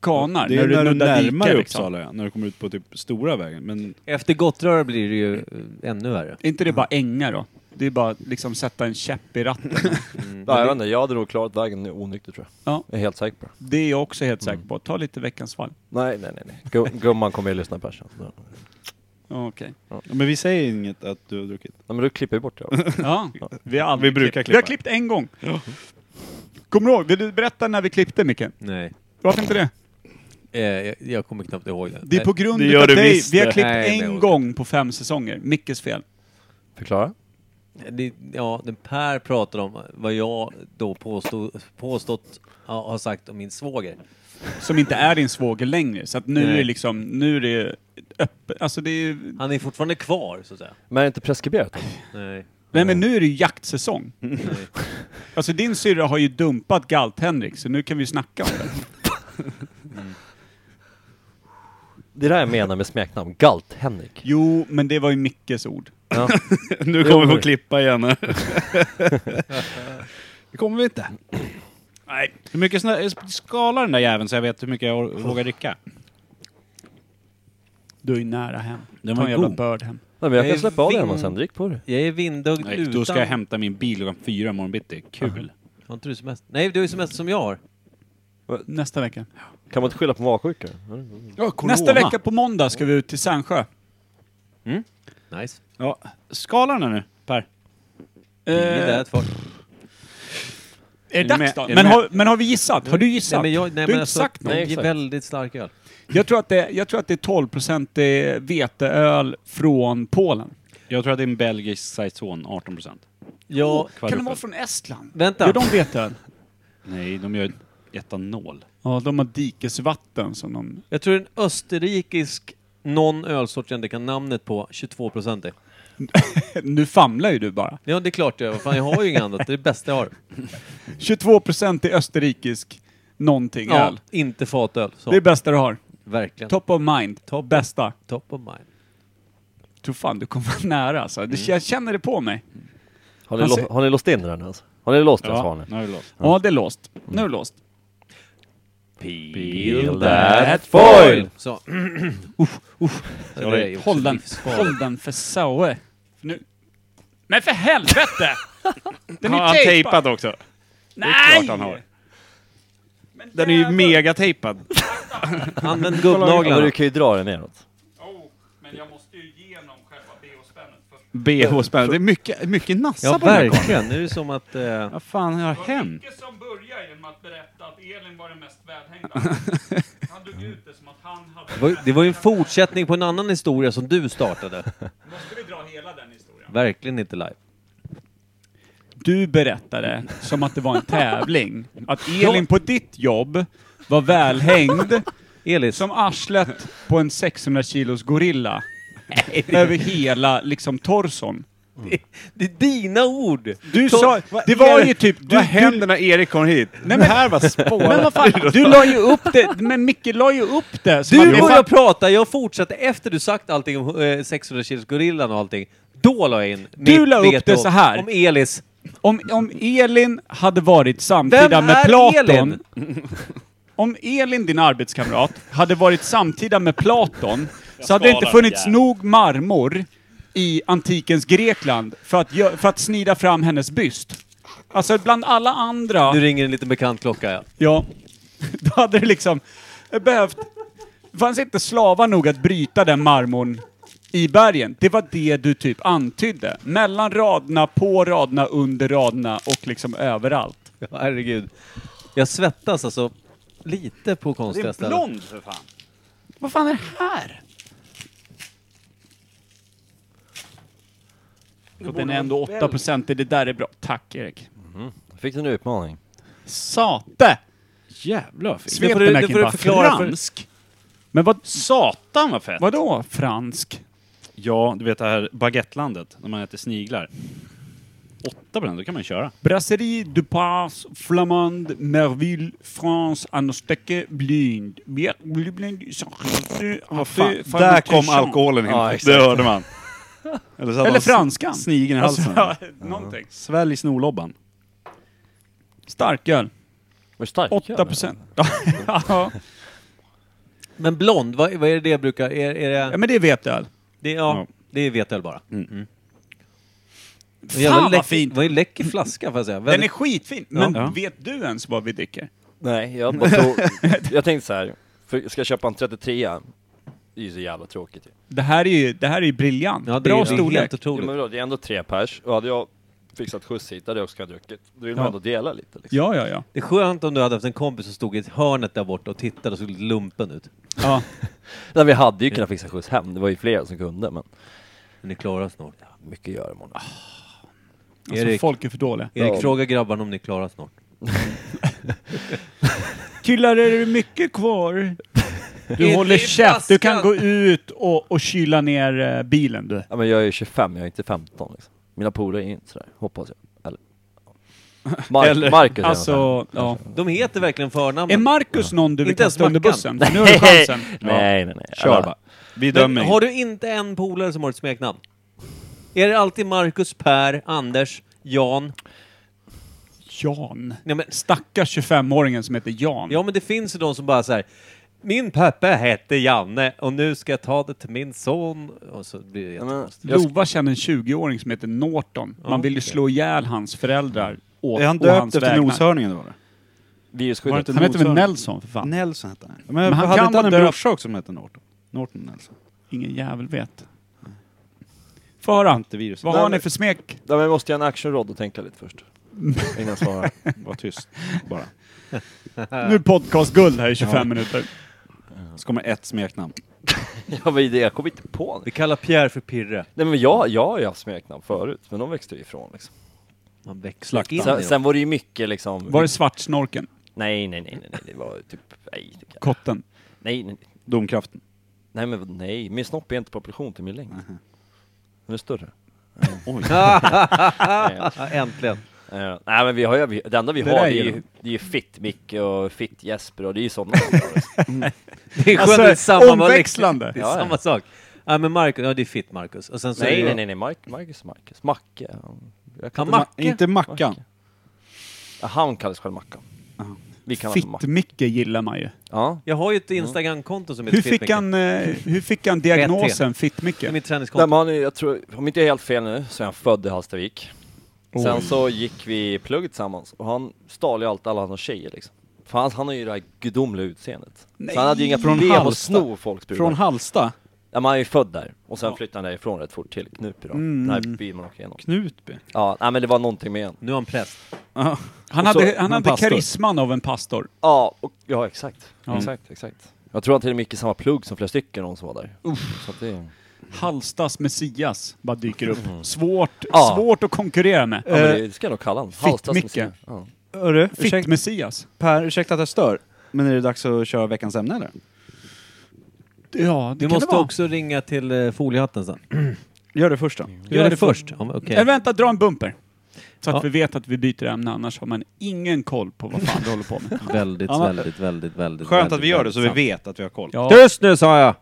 Speaker 4: kanar,
Speaker 2: Det är när du
Speaker 4: nuddar
Speaker 2: närmar
Speaker 4: diken,
Speaker 2: dig
Speaker 4: liksom.
Speaker 2: Uppsala, ja, när du kommer ut på typ stora vägen. Men
Speaker 1: Efter Gottröra blir det ju eh, ännu värre.
Speaker 4: Är inte
Speaker 2: Mm.
Speaker 4: det bara ängar då? Det är bara liksom sätta en käpp i ratten.
Speaker 2: [laughs]
Speaker 3: Ja, jag vet inte, jag hade nog klarat vägen onykter tror jag.
Speaker 4: Mm. Ja.
Speaker 3: Jag är helt säker på det.
Speaker 4: Det är jag också helt
Speaker 2: Mm.
Speaker 4: säker på. Ta lite veckans fall.
Speaker 3: Nej, nej, nej. nej. Gu- Gumman kommer ju lyssna på det här sen. Så-
Speaker 4: Okej.
Speaker 2: Ja, Men vi säger inget att du har druckit. [laughs]
Speaker 3: Nej men du klipper ju
Speaker 4: [laughs]
Speaker 3: bort det.
Speaker 4: Ja, vi, har aldrig
Speaker 2: Vi brukar
Speaker 4: klippt.
Speaker 2: klippa.
Speaker 4: Vi har klippt en gång. Kommer du ihåg? Vill du berätta när vi klippte, Micke?
Speaker 1: Nej.
Speaker 4: Varför inte det?
Speaker 1: Eh, jag, jag kommer knappt ihåg det.
Speaker 4: Det är på grund
Speaker 2: det gör
Speaker 4: av
Speaker 2: du
Speaker 4: dig.
Speaker 2: visst
Speaker 4: Vi har
Speaker 2: det.
Speaker 4: klippt
Speaker 1: Nej, det
Speaker 4: en
Speaker 1: var-
Speaker 4: gång på fem säsonger. Mickes fel.
Speaker 3: Förklara.
Speaker 1: Eh, det, ja, den Per pratade om vad jag då påstod, påstått ja, har sagt om min svåger.
Speaker 4: Som inte är din svåger längre. Så att nu
Speaker 1: Nej.
Speaker 4: är det liksom, nu är det öppet. Alltså det är,
Speaker 1: Han är fortfarande kvar, så att säga.
Speaker 3: Men är det inte preskriberat? då?
Speaker 1: Nej.
Speaker 4: nej men nu är det ju jaktsäsong.
Speaker 2: Mm.
Speaker 1: nej.
Speaker 4: Alltså din syrra har ju dumpat Galt-Henrik, så nu kan vi ju snacka om
Speaker 2: [laughs]
Speaker 4: det.
Speaker 3: Det är det här jag menar med smeknamn. Galt-Henrik.
Speaker 4: Jo, men det var ju Mickes ord.
Speaker 2: Nu kommer vi att klippa igen. [laughs] det kommer vi inte. Nej. Hur mycket snö... Skala den där jäveln så jag vet hur mycket jag or- vågar dricka.
Speaker 4: Du är nära hem.
Speaker 2: Den
Speaker 4: Ta
Speaker 2: var
Speaker 4: en jävla
Speaker 2: god.
Speaker 4: börd hem.
Speaker 3: Nej, men jag
Speaker 1: Jag är
Speaker 3: kan släppa av dig
Speaker 1: ving-
Speaker 3: hemma sen. Drick på dig.
Speaker 1: Jag är vindögd
Speaker 2: Nej,
Speaker 1: utan...
Speaker 2: då ska jag hämta min bil klockan fyra imorgon bitti. Kul.
Speaker 1: Har inte du semester? Nej, du är semester som jag har.
Speaker 4: Nästa vecka.
Speaker 3: Kan man inte skylla på magsjuka?
Speaker 4: Nästa vecka på måndag ska vi ut till Sandsjö.
Speaker 1: Nice.
Speaker 2: Ja. Skala den nu, Per.
Speaker 1: Det är där
Speaker 4: Eh,
Speaker 1: ett folk.
Speaker 4: Är det
Speaker 2: Är ni
Speaker 4: dags
Speaker 2: med?
Speaker 4: då?
Speaker 2: Är ni
Speaker 4: Men
Speaker 2: med?
Speaker 4: har, men har vi gissat? Har du
Speaker 1: Nej,
Speaker 4: gissat?
Speaker 1: men jag, nej,
Speaker 4: du
Speaker 1: men
Speaker 4: har inte
Speaker 1: alltså,
Speaker 4: sagt något.
Speaker 1: det är
Speaker 3: exakt.
Speaker 1: väldigt stark öl.
Speaker 4: Jag tror att det, jag tror att det är 12% veteöl från Polen.
Speaker 2: Jag tror att det är en belgisk saison, 18 procent.
Speaker 1: Ja,
Speaker 4: Kan
Speaker 2: Kvadrupel.
Speaker 4: det vara från Estland?
Speaker 1: Vänta.
Speaker 4: Gör de veteöl?
Speaker 2: Nej, de gör etanol.
Speaker 4: Ja, de har dikesvatten som de...
Speaker 1: jag tror en österrikisk någon ölsort jag inte kan namnet på, 22 procent
Speaker 4: Nu famlar ju du bara.
Speaker 1: Ja, det är klart jag gör. Vad Fan, jag har ju inget annat. Det är det bästa jag har.
Speaker 4: 22% är österrikisk någonting
Speaker 1: Ja,
Speaker 4: öl.
Speaker 1: inte fatöl. Så.
Speaker 4: Det är bästa du har.
Speaker 1: Verkligen. Top.
Speaker 4: Top of mind.
Speaker 1: Top.
Speaker 4: Bästa.
Speaker 1: of mind.
Speaker 4: Tror fan du kommer vara nära alltså. Det, jag känner det på mig.
Speaker 3: Har ni,
Speaker 4: Han
Speaker 3: lo-
Speaker 4: ser-
Speaker 3: har ni låst in den alltså? Har ni låst den så har
Speaker 2: Ja,
Speaker 3: ni.
Speaker 2: nu har du låst.
Speaker 4: Ja, det är låst. Nu är det låst.
Speaker 3: Peel
Speaker 4: that
Speaker 3: foil!
Speaker 1: Så. [clears throat] Uff, uff. Det där är ju också
Speaker 4: Håll den,
Speaker 1: livsfarligt.
Speaker 4: håll den för Saue. Nu. Men för
Speaker 2: [laughs]
Speaker 4: helvete! Den
Speaker 2: Har han tejpat också?
Speaker 4: Nej!
Speaker 2: Klart han har. Den är ju megatejpad.
Speaker 1: Använd
Speaker 3: Ja, men
Speaker 1: gubbnaglarna.
Speaker 3: du kan ju dra den neråt.
Speaker 4: Oh, Men jag måste ju igenom själva bh-spännet först.
Speaker 2: BH-spänn. Det är mycket, mycket nassa
Speaker 1: Ja,
Speaker 2: på den här karln.
Speaker 1: verkligen. Nu är det som att... Eh,
Speaker 2: Vad fan har hänt?
Speaker 4: som börjar genom att berätta att Elin var den mest
Speaker 2: [laughs]
Speaker 4: välhängda. Han dog ut det som att han hade...
Speaker 1: det var- det var ju en fortsättning på en annan historia som du startade.
Speaker 4: Måste vi dra hela den historien?
Speaker 1: Verkligen inte live.
Speaker 4: Du berättade som att det var en tävling. Att Elin på ditt jobb var välhängd
Speaker 1: Elis,
Speaker 4: Som arslet på en 600 kilos gorilla. över hela liksom torson.
Speaker 1: Det, det är dina ord!
Speaker 4: Du
Speaker 1: Ta-
Speaker 4: sa,
Speaker 1: vad
Speaker 4: det var
Speaker 1: är-
Speaker 4: ju typ... Du,
Speaker 5: Vad händer när Erik kommer hit?
Speaker 4: Nej, men-
Speaker 5: det här var
Speaker 4: du, men
Speaker 5: spårat.
Speaker 4: vad fan, du la ju upp det, men Micke la ju upp det som att
Speaker 1: Du
Speaker 4: det
Speaker 1: började
Speaker 4: fan-
Speaker 1: prata, jag fortsatte efter du sagt allting om eh, 600 kilos gorillan och allting. Då la jag in
Speaker 4: Du
Speaker 1: mitt
Speaker 4: la upp
Speaker 1: veto
Speaker 4: det så här.
Speaker 1: Om Elis.
Speaker 4: om, om Elin hade varit samtida
Speaker 1: Vem
Speaker 4: med
Speaker 1: är
Speaker 4: Platon...
Speaker 1: Elin?
Speaker 4: [laughs] Om Elin, din arbetskamrat, hade varit samtida med Platon så hade det inte funnits nog marmor i antikens Grekland för att, gö- för att snida fram hennes byst. Alltså bland alla andra...
Speaker 1: Nu ringer en liten bekant klocka ja.
Speaker 4: Ja. [laughs] Då hade det liksom behövt... Det fanns inte slavar nog att bryta den marmorn i bergen. Det var det du typ antydde. Mellan raderna, på raderna, under raderna och liksom överallt.
Speaker 1: Ja, Herregud. Jag svettas alltså lite på konstiga ställen.
Speaker 5: för fan.
Speaker 4: Vad fan är det här? Och den är ändå 8%, det där är bra. Tack Erik.
Speaker 3: Fick du en utmaning?
Speaker 4: Sate!
Speaker 5: Jävlar fint.
Speaker 1: Det får du- det
Speaker 4: Svetemäki
Speaker 1: får du
Speaker 4: bara
Speaker 1: förklara för-
Speaker 4: fransk. Men vad,
Speaker 5: Satan vad fett!
Speaker 4: vadå fransk?
Speaker 5: Ja, du vet det här baguettelandet, när man äter sniglar. 8% då kan man köra.
Speaker 4: Brasserie Dupas Flamande Merville France Anostecke Blind. Bier- Blind
Speaker 5: Vad fan, där kom alkoholen in.
Speaker 3: Ja, exakt.
Speaker 5: det hörde man. Eller, så hade
Speaker 4: Eller
Speaker 5: man
Speaker 4: franskan.
Speaker 5: Snigeln i
Speaker 4: Alltså,
Speaker 5: halsen.
Speaker 4: ja, någonting.
Speaker 5: Svälj snorlobban.
Speaker 4: Starköl.
Speaker 3: Var det stark?
Speaker 4: 8 procent. [laughs] ja,
Speaker 1: Men blond, vad, vad är det jag brukar... Är, är det,
Speaker 4: men det är veteöl.
Speaker 1: det, ja,
Speaker 5: Ja.
Speaker 1: det är vetöl bara. Mm. En jävla
Speaker 4: Fan vad
Speaker 1: läcker-
Speaker 4: fint!
Speaker 1: Vad är en läcker flaska får jag säga.
Speaker 4: Den är
Speaker 1: Väldigt,
Speaker 4: skitfin. Men
Speaker 5: Ja.
Speaker 4: vet du ens vad vi dricker?
Speaker 3: Nej, jag bara tog... [laughs] jag tänkte så här. För ska jag köpa en 33 Det är ju så jävla tråkigt ju.
Speaker 4: Det här är ju, det här är ju briljant.
Speaker 1: ja, det
Speaker 4: Bra
Speaker 1: är, Det är
Speaker 4: storlek.
Speaker 1: helt
Speaker 3: Jo,
Speaker 1: otroligt.
Speaker 3: men vadå, det är ändå tre pers, och hade jag fixat skjuts hit hade jag också kunnat druckit. Då vill man
Speaker 4: Ja.
Speaker 3: ändå dela lite liksom.
Speaker 4: Ja, ja, ja.
Speaker 1: Det är skönt om du hade haft en kompis som stod i ett hörnet där borta och tittade och såg lite lumpen ut.
Speaker 4: ja.
Speaker 3: Nej, vi hade ju kunnat fixa skjuts hem, det var ju flera som kunde men... Ah.
Speaker 1: Men ni klarar snart.
Speaker 3: Mycket att göra imorgon.
Speaker 1: Erik.
Speaker 4: Alltså, folk är för dåliga.
Speaker 1: Erik, fråga grabbarna om ni klarar snart.
Speaker 4: Killar, är det mycket kvar?
Speaker 1: det
Speaker 4: Du
Speaker 1: är
Speaker 4: håller käft, du kan
Speaker 1: flaskan.
Speaker 4: gå ut och, och kyla ner eh, bilen du.
Speaker 3: Ja men jag är 25, jag är inte 15 liksom. Mina polare är inte sådär, hoppas jag. [laughs] Eller... Mark,
Speaker 5: Eller-
Speaker 3: Marcus är ungefär.
Speaker 4: Alltså, ja.
Speaker 1: De heter verkligen
Speaker 4: Är
Speaker 1: förnamnen.
Speaker 4: Marcus någon du vill
Speaker 1: Inte ens
Speaker 4: kasta under
Speaker 1: Mackan.
Speaker 4: bussen? Nu har du chansen.
Speaker 3: [laughs] Nej, nej, nej.
Speaker 5: Kör bara. Vi
Speaker 1: Men
Speaker 5: dömer
Speaker 1: har
Speaker 5: inte.
Speaker 1: du inte en polare som har ett smeknamn? Är det alltid Marcus, Per, Anders, Jan?
Speaker 4: Jan.
Speaker 1: Nej, men,
Speaker 4: Stackars 25-åringen som heter Jan.
Speaker 1: ja men det finns ju de som bara så här. Min pappa hette Janne och nu ska jag ta det till min son. Och så blir det jättekonstigt.
Speaker 4: Lova känner en 20-åring som heter Norton. Man vill ju slå ihjäl hans föräldrar åt,
Speaker 5: Är han
Speaker 4: å
Speaker 5: döpt
Speaker 4: hans
Speaker 5: efter
Speaker 4: vägnar.
Speaker 5: noshörningen då? eller? Var det
Speaker 3: Virusskyddet.
Speaker 5: inte
Speaker 4: Han heter väl
Speaker 5: noshörning?
Speaker 4: Nelson för fan?
Speaker 5: Nelson hette han. Men,
Speaker 4: Men han
Speaker 5: han hade
Speaker 4: kan
Speaker 5: inte han en
Speaker 4: vara döpt.
Speaker 5: brorsa också som hette Norton? Norton Nelson.
Speaker 4: Ingen jävel vet. Få höra.
Speaker 5: Antivirus.
Speaker 4: Vad
Speaker 5: Nej,
Speaker 4: har ni
Speaker 5: men-
Speaker 4: för smek?
Speaker 3: Nej men måste jag ha en actionrod och tänka lite [laughs] först? Innan jag svarar.
Speaker 5: [laughs] Var tyst bara.
Speaker 4: Nu är podcastguld här i 25 minuter.
Speaker 5: Så kommer ett smeknamn.
Speaker 3: ja men det, jag kommer inte på det.
Speaker 1: Vi kallar Pierre för Pirre.
Speaker 3: Nej men jag, jag har ju haft smeknamn förut, men de växte ju ifrån liksom.
Speaker 1: Man växlar in i
Speaker 3: Sen,
Speaker 1: dem.
Speaker 3: sen var det ju mycket liksom...
Speaker 4: Var det svartsnorken?
Speaker 3: Nej, nej, nej, nej, nej, det var typ... Nej, det kan...
Speaker 4: Kotten?
Speaker 3: nej, nej,
Speaker 5: Domkraften.
Speaker 3: nej, men vad- nej, min snopp är inte i proportion till min längd. Den är [laughs] större.
Speaker 1: Ja, äntligen. [laughs]
Speaker 3: Eh, nej men vi har ju, vi- det enda vi
Speaker 4: Det
Speaker 3: har
Speaker 4: där
Speaker 3: det är,
Speaker 4: gillar
Speaker 3: ju, det är ju Fitt Micke och Fitt Jesper och det är ju sådana. [laughs] alltså.
Speaker 1: Det är skönt att det är samma vad-
Speaker 4: Alltså, omväxlande.
Speaker 1: Det är
Speaker 3: Ja, ja.
Speaker 1: samma sak. Ja men Marcus, ja det är fitt Marcus. Och sen så är
Speaker 3: nej
Speaker 1: det-
Speaker 3: nej nej, nej Mark, Marcus Marcus, Macke. han- Jag
Speaker 1: Kan
Speaker 3: inte-
Speaker 1: Macke?
Speaker 5: Inte Mackan.
Speaker 3: Ja, han kallas själv Mackan. Vi kallar honom Mackan.
Speaker 4: Fitt-Micke gillar man ju.
Speaker 3: Ja.
Speaker 1: Jag har ju
Speaker 3: Mm.
Speaker 1: ett Instagramkonto som heter
Speaker 4: Hur
Speaker 1: Fitt
Speaker 4: fick,
Speaker 1: Micke.
Speaker 4: han, eh, hur fick han diagnosen Fitt-Micke?
Speaker 1: Det är mitt
Speaker 3: Nej, men
Speaker 1: träningskonto.
Speaker 3: han är, jag tror, om inte jag är helt fel nu, så är han född i Hallstavik. Sen så gick vi i plugget tillsammans och han stal ju allt alla hans tjejer liksom. För han, han har ju det här gudomliga utseendet.
Speaker 4: Nej,
Speaker 3: så han hade ju inga
Speaker 5: från
Speaker 3: problem att
Speaker 5: Hallsta.
Speaker 3: sno folks brudar.
Speaker 5: Från Halsta.
Speaker 3: Ja, man är ju född där och sen flyttade han därifrån rätt fort till Knutby då.
Speaker 5: Mm.
Speaker 3: Den här byn man åker igenom.
Speaker 5: Knutby.
Speaker 3: Ja, nej, men det var någonting med en.
Speaker 1: Nu är han präst.
Speaker 4: Han
Speaker 3: Och så-
Speaker 4: hade, han
Speaker 5: en
Speaker 4: hade
Speaker 5: pastor.
Speaker 4: karisman av en pastor.
Speaker 3: Ja, och, ja exakt.
Speaker 4: Ja.
Speaker 3: Exakt, exakt. Jag tror han till och med gick i samma plugg som flera stycken någon som var där. Så att det...
Speaker 4: Halstas Messias bara dyker upp. Svårt,
Speaker 3: Ja.
Speaker 4: svårt att konkurrera med.
Speaker 3: Ja, men det, det ska jag nog kalla honom. Halstads
Speaker 4: Fitt-Micke.
Speaker 3: museum. Ja.
Speaker 5: Hörru, ursäkta,
Speaker 4: Fitt-Messias.
Speaker 5: per, ursäkta att jag stör. Men är det dags att köra veckans ämne eller?
Speaker 4: Ja, det
Speaker 1: Vi
Speaker 4: kan
Speaker 1: måste
Speaker 4: det vara.
Speaker 1: också ringa till eh, Foliehatten sen.
Speaker 2: Gör det först då.
Speaker 1: Gör det först. Ja, men okej.
Speaker 4: Eller Eh, vänta, dra en bumper. Så att
Speaker 1: Ja.
Speaker 4: vi vet att vi byter ämne, annars har man ingen koll på vad fan du håller på med.
Speaker 1: Väldigt,
Speaker 4: Ja, men-
Speaker 1: väldigt, väldigt, väldigt.
Speaker 5: Skönt
Speaker 1: väldigt,
Speaker 5: att vi gör det
Speaker 1: väldigt
Speaker 5: så vi
Speaker 1: sant.
Speaker 5: vet att vi har koll.
Speaker 4: Ja.
Speaker 1: Tyst nu sa jag!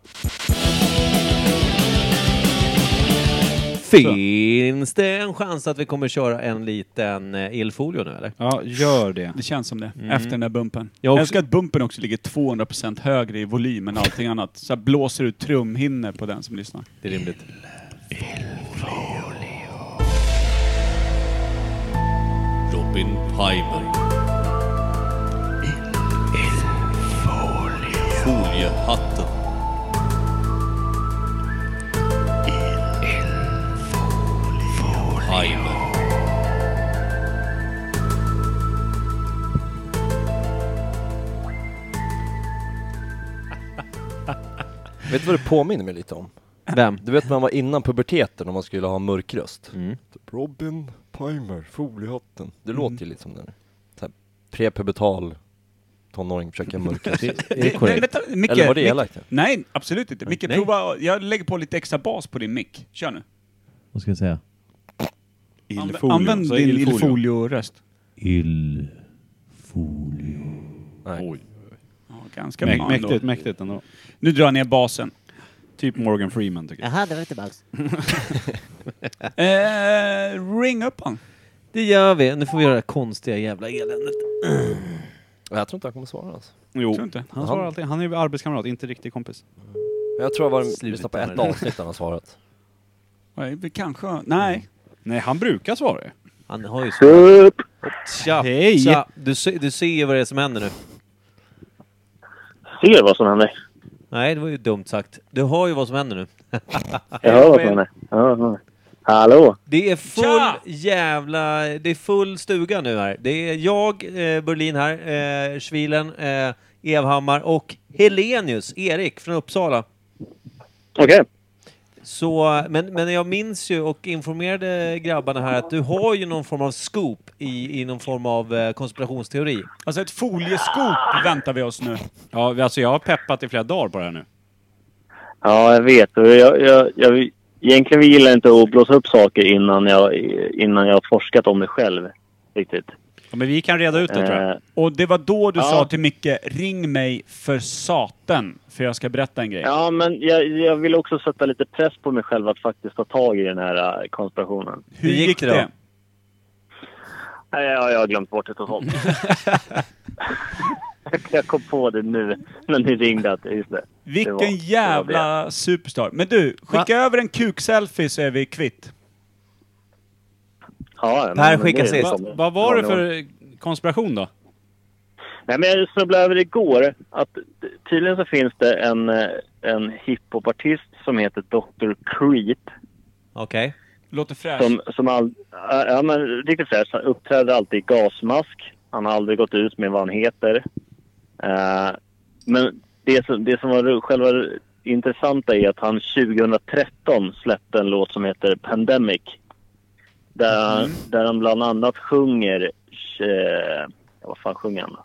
Speaker 1: Finns det en chans att vi kommer köra en liten eh, elfolio nu eller?
Speaker 2: Ja, gör det.
Speaker 4: Det känns som det,
Speaker 5: Mm.
Speaker 4: efter den där bumpen.
Speaker 1: Jag
Speaker 4: Jag,
Speaker 1: också.
Speaker 4: älskar att bumpen också ligger 200% högre i volym än allting annat. Så här blåser ut trumhinnor på den som lyssnar.
Speaker 1: Det är rimligt.
Speaker 9: Robin Piper. Foliehatten. Piper.
Speaker 3: Vet du vad det påminner mig lite om?
Speaker 1: Vem?
Speaker 3: Du vet när man var innan puberteten och man skulle ha mörk röst? Typ Robin Pimer, Foliehatten. Det låter ju lite som den. Så här Prepubertal tonåring försöker mörka röst.
Speaker 1: Det är
Speaker 4: Nej,
Speaker 1: korrekt.
Speaker 4: vänta, Micke,
Speaker 3: Eller var det
Speaker 4: Micke-
Speaker 3: elakt?
Speaker 4: Nej, absolut inte. Micke,
Speaker 1: Nej.
Speaker 4: prova. Jag lägger på lite extra bas på din mick. Kör nu.
Speaker 1: Vad ska jag säga?
Speaker 4: Anv-
Speaker 5: Ilfolio.
Speaker 4: Använd
Speaker 5: Så
Speaker 4: din
Speaker 5: ilfolio.
Speaker 4: ilfolio-röst.
Speaker 5: Oj.
Speaker 4: Ja, ganska
Speaker 5: Mä-
Speaker 4: bra ändå.
Speaker 5: mäktigt, mäktigt ändå.
Speaker 4: Nu drar jag ner basen.
Speaker 5: Typ Morgan Freeman tycker jag.
Speaker 10: Jaha, det var tillbaks.
Speaker 4: Eh, ring upp han.
Speaker 1: Det gör vi. Nu får vi göra det konstiga jävla eländet.
Speaker 3: Jag tror inte han kommer svara alltså.
Speaker 5: Jo.
Speaker 4: Tror inte.
Speaker 8: Han svarar alltid. Han är ju arbetskamrat, inte riktig kompis.
Speaker 3: Jag tror jag var
Speaker 1: Sluta
Speaker 3: lyssnade på
Speaker 1: med
Speaker 3: ett
Speaker 1: det.
Speaker 3: avsnitt han har svarat.
Speaker 4: Nej, vi kanske...
Speaker 5: Mm.
Speaker 4: Nej.
Speaker 5: Nej, han brukar svara ju.
Speaker 1: Han har ju... så- Tja!
Speaker 5: Hej!
Speaker 1: Tja! Du, se, du ser ju vad det är som händer nu.
Speaker 11: Ser vad som händer.
Speaker 1: Nej, det var ju dumt sagt. Du hör ju vad som händer nu.
Speaker 11: Jag hör vad som händer. Ja, ja. Hallå?
Speaker 1: Det är full
Speaker 4: Tja!
Speaker 1: jävla... Det är full stuga nu här. Det är jag, eh, Berlin här, eh, Schwilen, eh, Evhammar och Helenius, Erik från Uppsala.
Speaker 11: Okej.
Speaker 1: Så, men, men jag minns ju och informerade grabbarna här att du har ju någon form av scoop i, i någon form av eh, konspirationsteori.
Speaker 4: Alltså ett folieskop väntar vi oss nu.
Speaker 5: Ja, vi- alltså jag har peppat i flera dagar på det här nu.
Speaker 11: Ja, jag vet. Och Jag, jag, jag, egentligen vi gillar inte att blåsa upp saker innan jag, innan jag har forskat om det själv. Riktigt.
Speaker 5: Ja, men vi kan reda ut det tror jag.
Speaker 11: Eh,
Speaker 4: Och det var då du
Speaker 11: Ja.
Speaker 4: sa till Micke, ring mig för saten, för jag ska berätta en grej.
Speaker 11: ja, men jag, jag vill också sätta lite press på mig själv att faktiskt ta tag i den här eh, konspirationen.
Speaker 4: Hur
Speaker 1: Hur gick
Speaker 4: gick,
Speaker 1: det
Speaker 4: det?
Speaker 1: då?
Speaker 11: Nej, jag, jag har glömt bort det totalt. jag kom på det nu när ni ringde. Att, just det.
Speaker 4: Vilken
Speaker 11: det var
Speaker 4: jävla superstar. Men du, skicka över en kuk-selfie så är vi kvitt.
Speaker 11: Ja,
Speaker 1: Per
Speaker 11: men det
Speaker 1: skickar
Speaker 11: är
Speaker 1: sist.
Speaker 11: som-
Speaker 5: Vad var det
Speaker 11: som-
Speaker 5: för konspiration då?
Speaker 11: Nej, men jag snubblade över igår att tydligen så finns det en, eh, en hiphopartist som heter Dr. Creep
Speaker 1: Okej?
Speaker 4: Låter fräscht.
Speaker 11: som, som all, ja, ja, men riktigt fräsch. Han uppträder alltid i gasmask. Han har aldrig gått ut med vad han heter. Eh, men det som, det som var ro- själva intressanta är att han 2013 släppte en låt som heter Pandemic. Där, han- där han bland annat sjunger... Eh, vad fan sjunger han då?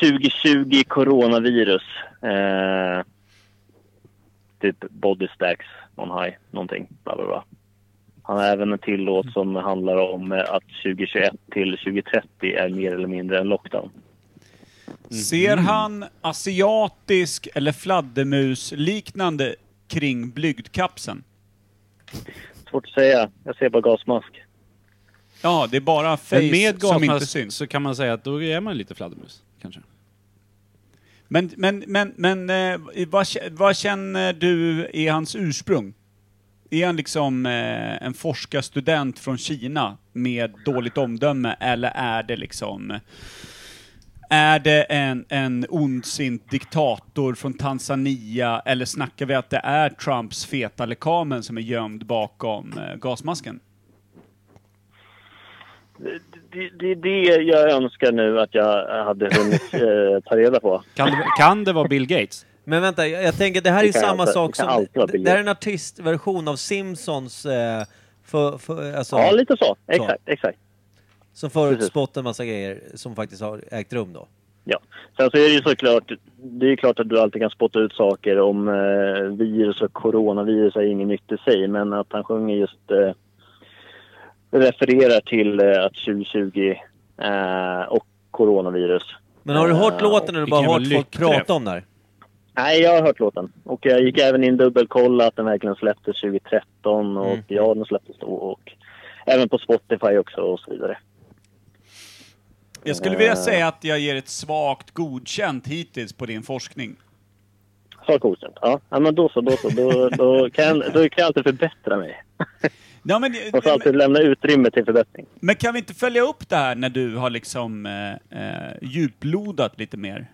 Speaker 11: 2020 coronavirus. Eh, typ body stacks on high, någonting. Bla, bla, bla. Han har även en till låt som handlar om eh, att 2021 till 2030 är mer eller mindre en lockdown.
Speaker 4: Ser
Speaker 5: Mhm.
Speaker 4: han asiatisk eller fladdermus-liknande kring blygdkapseln?
Speaker 11: Svårt att säga. Jag ser bara gasmask.
Speaker 4: Ja, det är bara face
Speaker 5: Men med
Speaker 4: som inte
Speaker 5: gasmask
Speaker 4: syns.
Speaker 5: så kan man säga att då är man lite fladdermus. Kanske.
Speaker 4: Men, men, men, men eh, vad, kä- vad känner du är hans ursprung? Är han liksom eh, en forskarstudent från Kina med dåligt omdöme, eller är det liksom... Är det en, en ondsint diktator från Tanzania, eller snackar vi att det är Trumps feta lekamen som är gömd bakom eh, gasmasken?
Speaker 11: Det- Det, det är det jag önskar nu att jag hade [laughs] hunnit eh, ta reda på.
Speaker 5: Kan det, kan det vara Bill Gates?
Speaker 1: Men vänta, jag, jag tänker det här är ju
Speaker 11: Det kan jag
Speaker 1: samma
Speaker 11: inte-
Speaker 1: sak
Speaker 11: det kan
Speaker 1: som...
Speaker 11: alltid vara
Speaker 1: Det,
Speaker 11: billigt.
Speaker 1: det här är en artistversion av Simpsons... Eh, för, för, alltså,
Speaker 11: Ja, lite så. Exakt, exakt.
Speaker 1: som förutspått en massa grejer som faktiskt har ägt rum då.
Speaker 11: Ja. Sen så är det ju såklart, det är ju klart att du alltid kan spotta ut saker om eh, virus och coronavirus är inget nytt i sig, men att han sjunger just eh, refererar till eh, att 2020 eh, och coronavirus.
Speaker 1: Men har du hört
Speaker 11: Eh,
Speaker 1: låten eller du bara
Speaker 11: vilken
Speaker 1: hört
Speaker 11: jävla
Speaker 1: folk
Speaker 11: lyckträff.
Speaker 1: prata om det här?
Speaker 11: Nej, jag har hört låten. Och jag gick även in dubbelkolla att den verkligen släpptes 2013 och
Speaker 1: Mm.
Speaker 11: ja, den släpptes då och även på Spotify också och så vidare.
Speaker 4: Jag skulle vilja
Speaker 11: Eh.
Speaker 4: säga att jag ger ett svagt godkänt hittills på din forskning.
Speaker 11: Så godkänt. Ja, ja, men då så, då så. Då, då, kan, jag- då kan jag alltid förbättra mig.
Speaker 4: Ja, men,
Speaker 11: Och så alltid lämna utrymme till förbättring.
Speaker 4: men kan vi inte följa upp det här när du har liksom eh, eh, djuplodat lite mer?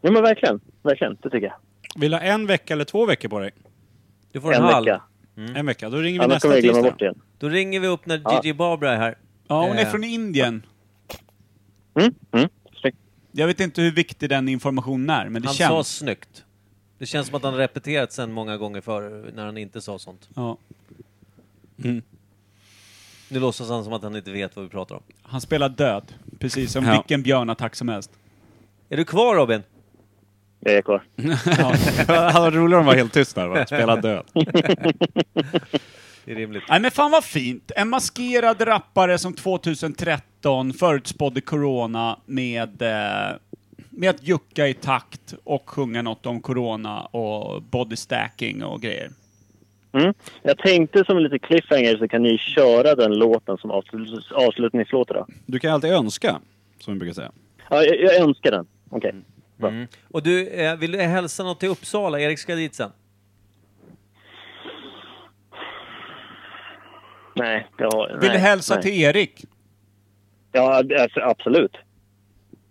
Speaker 11: Ja, men verkligen. Verkligen, det tycker jag.
Speaker 2: Vill du ha en vecka eller två veckor på dig?
Speaker 1: Du
Speaker 11: får en En halv. vecka.
Speaker 2: En vecka, då ringer vi
Speaker 11: Annars
Speaker 2: nästa
Speaker 11: kommer jag glömma
Speaker 2: tisdag. [laughs]
Speaker 11: bort igen.
Speaker 1: Då ringer vi upp när
Speaker 11: Ja.
Speaker 1: Gigi Barbara är här.
Speaker 4: Ja, hon är
Speaker 1: Eh,
Speaker 4: från Indien.
Speaker 11: Mm, mm, snyggt.
Speaker 4: Jag vet inte hur viktig den informationen är, men det
Speaker 1: Han
Speaker 4: känns...
Speaker 1: sa snyggt. Det känns som att han repeterat sen många gånger förr när han inte sa sånt.
Speaker 4: Ja.
Speaker 1: Nu låtsas han som att han inte vet vad vi pratar om.
Speaker 4: Han spelar död, precis som
Speaker 1: Ja.
Speaker 4: vilken björnattack som helst.
Speaker 1: Är du kvar Robin?
Speaker 11: Jag är kvar.
Speaker 4: Ja.
Speaker 2: Det hade varit roligare om de var helt tyst där va? Spela död.
Speaker 1: Det är rimligt.
Speaker 4: Nej men fan vad fint! En maskerad rappare som 2013 förutspådde corona med, eh, med att jucka i takt och sjunga något om corona och body stacking och grejer.
Speaker 11: Mm. Jag tänkte som en liten cliffhanger så kan ni köra den låten som avslut- avslutningslåt då.
Speaker 2: Du kan alltid önska, som vi brukar säga.
Speaker 11: Ja, jag, jag önskar den. Okej.
Speaker 1: Mm. Och du, eh, vill du hälsa något till Uppsala? Erik ska dit sen.
Speaker 11: Nej, jag har...
Speaker 4: Vill du
Speaker 11: nej,
Speaker 4: hälsa
Speaker 11: nej.
Speaker 4: till Erik?
Speaker 11: Ja, alltså, absolut.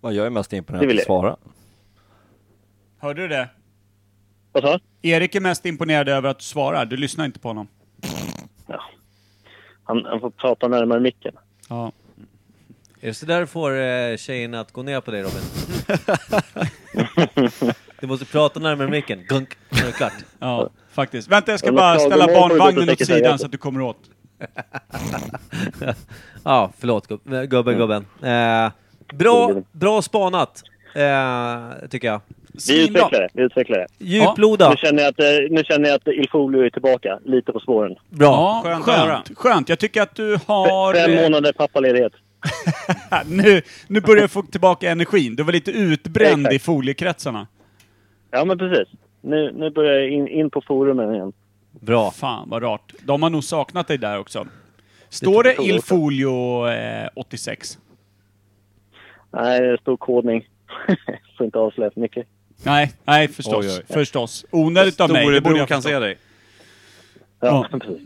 Speaker 3: Vad jag är mest
Speaker 11: Det
Speaker 3: imponerad
Speaker 11: vill
Speaker 3: av
Speaker 11: jag.
Speaker 3: att svara.
Speaker 4: Hörde du det?
Speaker 11: Vad sa
Speaker 4: Erik är mest imponerad över att du svarar, du lyssnar inte på honom.
Speaker 11: han? Han får prata närmare micken.
Speaker 4: Ja.
Speaker 1: Är det så där du får eh, tjejerna att gå ner på dig Robin? du måste prata närmare micken. Gunk, nu är det klart.
Speaker 4: Ja, faktiskt. Vänta, jag ska
Speaker 1: Ja, men
Speaker 4: bara
Speaker 1: klagomål
Speaker 4: ställa
Speaker 1: får du gå till
Speaker 4: barnvagnen åt sidan
Speaker 1: sekretariatet.
Speaker 4: så att du kommer åt.
Speaker 1: [laughs] Ja, förlåt gubb- eh, gubben, gubben. Eh, bra, bra spanat, eh, tycker jag.
Speaker 11: Vi utvecklar det. Vi utvecklar det.
Speaker 1: Djuploda.
Speaker 11: Nu känner jag att, eh, nu känner jag att Ilfolio är tillbaka. Lite på spåren.
Speaker 1: Bra.
Speaker 4: Ja, skönt, skönt. Jag tycker att du har...
Speaker 11: Fem månader pappaledighet.
Speaker 4: nu, nu börjar jag få tillbaka energin. Du var lite utbränd i foliekretsarna.
Speaker 11: Ja, men precis. Nu, nu börjar jag in, in på forumen igen.
Speaker 1: Bra.
Speaker 4: Fan vad rart. De har nog saknat dig där också. Står det
Speaker 11: tror jag också.
Speaker 4: Ilfolio eh, 86?
Speaker 11: Nej, det står kodning. [laughs] Får inte avslöja för mycket.
Speaker 4: Nej, nej förstås.
Speaker 11: Oj, oj.
Speaker 4: Förstås. Onödigt av mig. Det borde jag förstå.
Speaker 11: dig.
Speaker 4: Ja.
Speaker 11: Ja, [laughs] precis.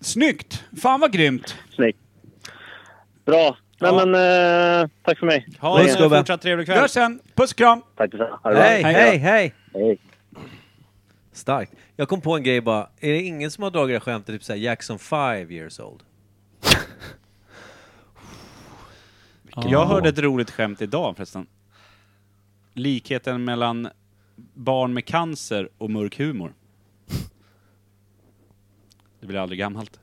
Speaker 4: Snyggt! Fan vad grymt!
Speaker 11: Snyggt. Bra. Nej, men eh, tack för mig.
Speaker 2: Ha en eh, fortsatt trevlig
Speaker 4: Vi
Speaker 2: kväll.
Speaker 4: hörs sen. Puss och kram!
Speaker 11: Tack detsamma. Ha det bra.
Speaker 1: Hej, hej, hej!
Speaker 11: Hej.
Speaker 1: Starkt. Jag kom på en grej bara. Är det ingen som har dragit det här skämtet, typ såhär Jackson 5 years old?
Speaker 2: Jag hörde ett roligt skämt idag förresten. Likheten mellan barn med cancer och mörk humor. Det blir aldrig gammalt.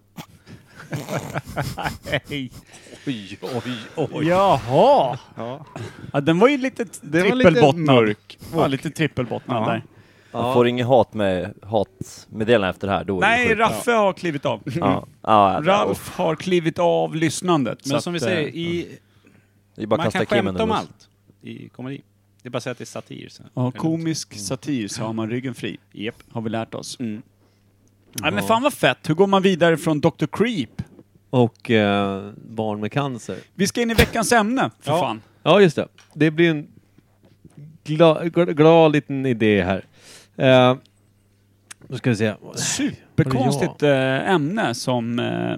Speaker 4: Hej.
Speaker 1: Oj, oj, oj.
Speaker 4: Jaha! Ja. den var ju lite t-
Speaker 2: Det var lite
Speaker 4: trippelbottnad.
Speaker 2: mörk.
Speaker 4: Ja, lite trippelbottnad där.
Speaker 3: Man får ingen hat med, hat med delen efter det här. Då är det
Speaker 4: Nej,
Speaker 3: sjukt.
Speaker 4: Raffe har klivit av.
Speaker 3: Ja. Ja,
Speaker 4: Ralf har klivit av lyssnandet.
Speaker 2: Men
Speaker 4: så att,
Speaker 2: som vi
Speaker 4: eh,
Speaker 2: säger, i,
Speaker 3: Det är bara
Speaker 2: man
Speaker 3: att kasta
Speaker 2: kan
Speaker 3: Kim
Speaker 2: skämta
Speaker 3: under
Speaker 2: om
Speaker 3: bussen.
Speaker 2: allt i komedi. Det är bara att säga att det är satir. Så.
Speaker 4: Ja, komisk satir så har man ryggen fri. Yep. Har vi lärt oss.
Speaker 2: Mm.
Speaker 4: Nej men fan vad fett, hur går man vidare från Dr. Creep?
Speaker 1: Och eh, barn med cancer.
Speaker 4: Vi ska in i veckans ämne, för
Speaker 1: Ja.
Speaker 4: fan.
Speaker 1: Ja, just det. Det blir en glad, glad liten idé här. Eh, nu ska vi se.
Speaker 4: Superkonstigt eh, ämne som eh,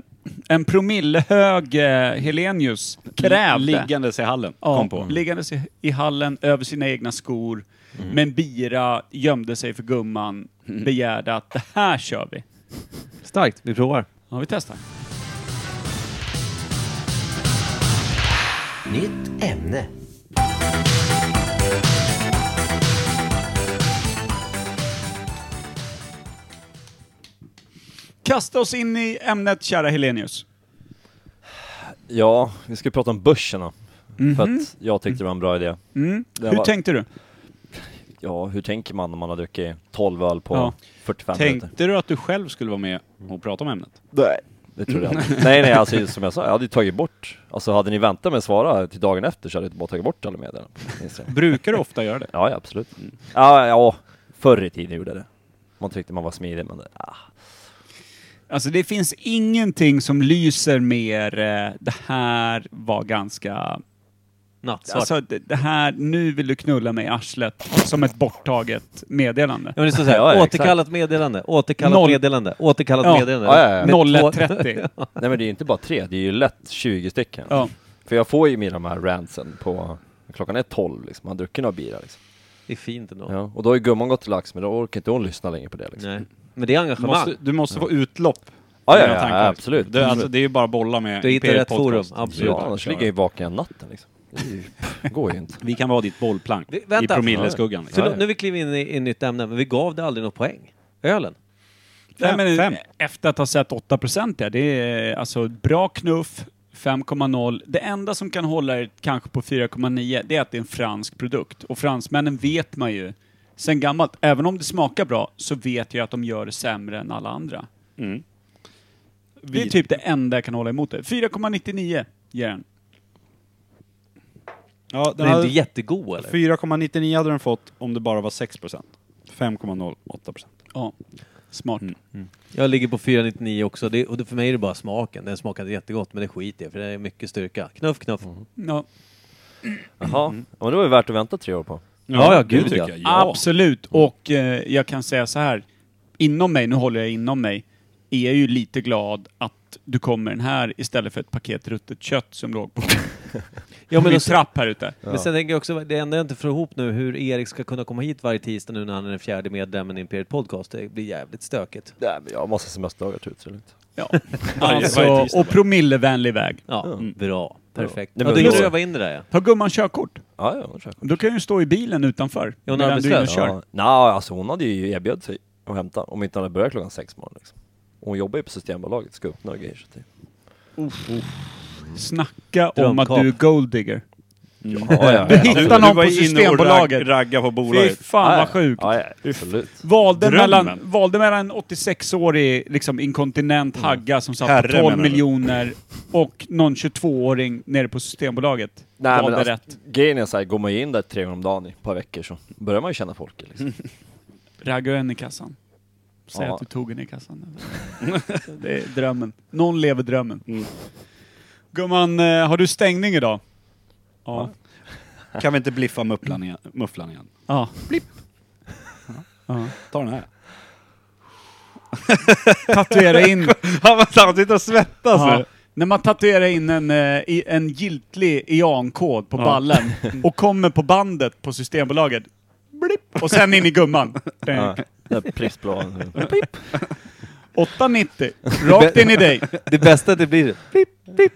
Speaker 4: en promillehög eh, Helenius krävde.
Speaker 2: Liggandes i hallen,
Speaker 4: ja, Mm.
Speaker 2: kom på.
Speaker 4: Liggandes i, i hallen över sina egna skor. Men Bira gömde sig för gumman, begärde att det här kör vi.
Speaker 1: Starkt, vi provar.
Speaker 4: Ja, vi testar.
Speaker 10: Nytt ämne.
Speaker 4: Kasta oss in i ämnet, kära Helenius.
Speaker 3: Ja, vi ska prata om börsen då. För att jag tyckte det var en bra idé.
Speaker 4: Mm.
Speaker 3: Den
Speaker 4: Hur
Speaker 3: var-
Speaker 4: tänkte du?
Speaker 3: Ja, hur tänker man när man har druckit 12 öl på
Speaker 2: Ja.
Speaker 3: 45 minuter?
Speaker 2: Tänkte du att du själv skulle vara med och prata om ämnet?
Speaker 3: Nej. Det tror jag inte. Nej, nej, alltså som jag sa, jag hade ju tagit bort, alltså hade ni väntat med att svara till dagen efter så hade jag bara tagit bort alla meddelanden. på Instagram.
Speaker 2: Brukar du
Speaker 3: [laughs]
Speaker 2: ofta göra det?
Speaker 3: Ja, ja absolut. Ja, ja, förr i tiden gjorde jag det. Man tyckte man var smidig, men det, ah.
Speaker 4: Alltså det finns ingenting som lyser mer, eh, det här var ganska...
Speaker 1: Nattsvart.
Speaker 4: Alltså det, det här, nu vill du knulla mig i arslet, som ett borttaget meddelande.
Speaker 1: Ja, men det står så här,
Speaker 3: Ja, ja,
Speaker 1: återkallat meddelande, återkallat
Speaker 4: Noll.
Speaker 1: meddelande, återkallat
Speaker 4: Ja.
Speaker 1: meddelande.
Speaker 3: Ja, ja, ja.
Speaker 1: Med två-
Speaker 4: 01.30.
Speaker 3: Nej men det är ju inte bara tre, det är ju lätt 20 stycken.
Speaker 4: Ja.
Speaker 3: För jag får ju mina de här rantsen på, klockan är 12 liksom, man har druckit några bira liksom.
Speaker 1: det är fint ändå.
Speaker 3: Ja. Och då har ju gumman gått till lax, men då orkar inte hon lyssna längre på det liksom.
Speaker 1: Nej. Men det är
Speaker 2: Du
Speaker 1: engagemang.
Speaker 2: måste, du måste få utlopp.
Speaker 3: Ja,
Speaker 2: för
Speaker 3: ja,
Speaker 2: dina
Speaker 3: ja,
Speaker 2: tankar.
Speaker 3: absolut.
Speaker 2: Det, alltså, det är ju bara att bolla med
Speaker 1: Du hittar
Speaker 2: Imperiet
Speaker 1: rätt forum,
Speaker 2: Podcast.
Speaker 1: absolut.
Speaker 3: Ja, annars ligger jag ju vaken hela natten liksom. Det är ju, [laughs] det går ju inte.
Speaker 2: Vi kan vara ditt bollplank
Speaker 1: Vi- vänta.
Speaker 2: i promilleskuggan. Liksom.
Speaker 1: Förlåt, nu vi kliver in i i ett nytt ämne, men vi gav det aldrig något poäng. Ölen.
Speaker 4: Nej, men
Speaker 2: Fem.
Speaker 4: Efter att ha sett 8% där, det är alltså bra knuff, 5,0. Det enda som kan hålla er kanske på 4,9 det är att det är en fransk produkt. Och fransmännen vet man ju sen gammalt, även om det smakar bra, så vet jag att de gör det sämre än alla andra.
Speaker 2: Mm.
Speaker 4: Det är typ det enda jag kan hålla emot det. 4,99 ger den.
Speaker 2: Ja,
Speaker 1: Den
Speaker 2: den
Speaker 1: är
Speaker 2: hade
Speaker 1: inte jättegod eller?
Speaker 2: 4,99 hade den fått om det bara var 6%. 5,08%.
Speaker 4: Ja, smart.
Speaker 2: Mm.
Speaker 1: Jag ligger på 499 också, det, och det, för mig är det bara smaken. Den smakade jättegott, men det skiter jag i, för det är mycket styrka. Knuff, knuff.
Speaker 4: Ja.
Speaker 3: Jaha, ja, men det var ju värt att vänta tre år på.
Speaker 1: Ja, ja,
Speaker 2: det
Speaker 1: gud,
Speaker 2: tycker
Speaker 1: ja.
Speaker 2: jag.
Speaker 4: Absolut, och eh, jag kan säga så här. Inom mig, nu håller jag inom mig, är jag ju lite glad att du kom med den här istället för ett paket ruttet kött som låg på
Speaker 1: Ja, men,
Speaker 4: min
Speaker 1: och sen,
Speaker 4: trapp här ute.
Speaker 1: men sen tänker jag också, det enda jag inte får ihop nu, hur Erik ska kunna komma hit varje tisdag nu när han är den fjärde medlemmen i Imperiet Podcast. Det blir jävligt stökigt.
Speaker 3: Nej, men jag har massa semesterdagar tror jag, så det är lugnt.
Speaker 4: Ja.
Speaker 2: varje
Speaker 4: Alltså,
Speaker 2: tisdag.
Speaker 4: och promillevänlig väg.
Speaker 1: Ja, bra. Perfekt.
Speaker 3: Nej,
Speaker 1: Ja,
Speaker 3: men
Speaker 1: du kan
Speaker 3: då-
Speaker 1: öva in det där ja.
Speaker 4: Har gumman körkort?
Speaker 3: Ja, ja, hon kör.
Speaker 4: Då kan du stå i bilen utanför.
Speaker 1: hon
Speaker 4: medan du är inne och
Speaker 1: arbetslös?
Speaker 4: kör.
Speaker 3: Ja, nej, alltså hon hade ju erbjudit sig att hämta om inte hon hade börjat klockan sex på morgonen liksom. Hon jobbar ju på Systembolaget, ska upp några grejer. Så det...
Speaker 4: Snacka om
Speaker 1: Drömkap.
Speaker 4: att du är golddigger.
Speaker 3: ja, [laughs] ja,
Speaker 4: Du
Speaker 3: ja,
Speaker 4: hittar någon på Systembolaget.
Speaker 2: ragga på
Speaker 4: Fy
Speaker 2: bolaget.
Speaker 4: fan
Speaker 3: Ja,
Speaker 4: vad sjukt.
Speaker 3: Ja, ja, absolut.
Speaker 4: Valde
Speaker 2: Drömmen.
Speaker 4: mellan, valde mellan en 86-årig liksom, inkontinent hagga som satt
Speaker 2: Mm. Herre,
Speaker 4: på 12
Speaker 2: menar du?
Speaker 4: miljoner och någon 22-åring nere på Systembolaget.
Speaker 3: Nej, men
Speaker 4: valde
Speaker 3: alltså,
Speaker 4: rätt.
Speaker 3: grejen är såhär, går man ju in där tre gånger om dagen i ett par veckor så börjar man ju känna folk liksom.
Speaker 4: Ragga en i kassan. Säg
Speaker 3: Ja.
Speaker 4: att du tog en i
Speaker 3: [laughs]
Speaker 4: kassan. det är drömmen. Någon lever drömmen.
Speaker 3: Mm.
Speaker 4: Gumman, eh, har du stängning idag? Ja.
Speaker 2: Kan vi inte bliffa mufflan igen? Mufflan igen?
Speaker 4: ja.
Speaker 2: Ta den här.
Speaker 4: Tatuera in.
Speaker 2: [laughs] Han sitter och svettas
Speaker 4: Ja. Alltså, När man tatuerar in en, eh, i- en giltig EAN-kod på ballen och kommer på bandet på Systembolaget. Blipp. Och sen in i gumman.
Speaker 3: Ja, den där prissblåan.
Speaker 4: 8,90. Rakt in i dig.
Speaker 1: Det bästa det blir pip, pip, pip,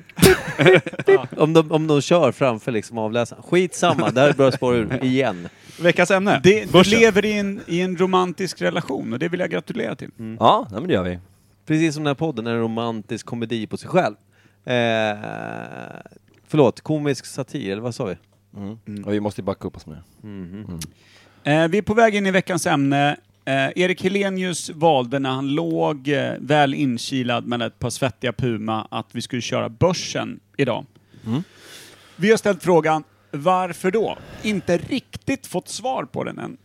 Speaker 1: pip, pip. Om, de, om de kör framför liksom avläsaren. Skitsamma, där börjar spåra ur igen.
Speaker 2: Veckans ämne.
Speaker 4: Det, du lever i en, i en romantisk relation och det vill jag gratulera till.
Speaker 3: [laughs] Ja, nej, men det gör vi.
Speaker 1: Precis som den här podden är en romantisk komedi på sig själv. Eh, förlåt, komisk satir, eller vad sa vi?
Speaker 3: Och vi måste ju backa upp oss med det.
Speaker 4: Eh, vi är på väg in i veckans ämne. Eh, Erik Helenius valde när han låg eh, väl inkilad med ett par svettiga Puma att vi skulle köra börsen idag. Vi har ställt frågan varför då? Inte riktigt fått svar på den än.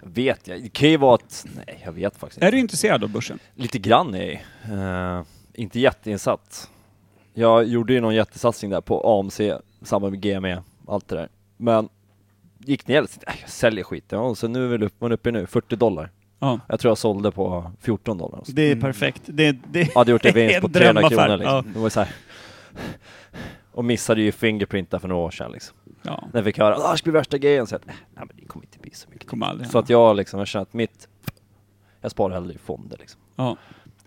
Speaker 3: Vet jag, det kan ju vara att, nej jag vet faktiskt
Speaker 4: Är
Speaker 3: inte.
Speaker 4: du intresserad av börsen?
Speaker 3: Lite grann är jag ju. Eh, Inte jätteinsatt. Jag gjorde ju någon jättesatsning där på AMC, samma med GME, allt det där. Men gick ner lite, nej, jag säljer skit. Ja, och så nu är väl upp, man är uppe nu, 40 dollar.
Speaker 4: Ja.
Speaker 3: Jag tror jag sålde på 14 dollar. Så.
Speaker 4: Det är perfekt. Det, det,
Speaker 3: Jag hade gjort en vinst på 300 kronor
Speaker 4: drömaffär.
Speaker 3: liksom. Det var ju så här. Och missade ju Fingerprint där för några år sedan liksom.
Speaker 4: Ja.
Speaker 3: När jag fick höra att ah, det skulle bli värsta grejen, så jag, nej men det kommer inte bli så mycket.
Speaker 4: Kommer aldrig
Speaker 3: Så
Speaker 4: hända.
Speaker 3: att jag liksom, jag känner att mitt, jag sparar hellre i fonder liksom.
Speaker 4: Ja.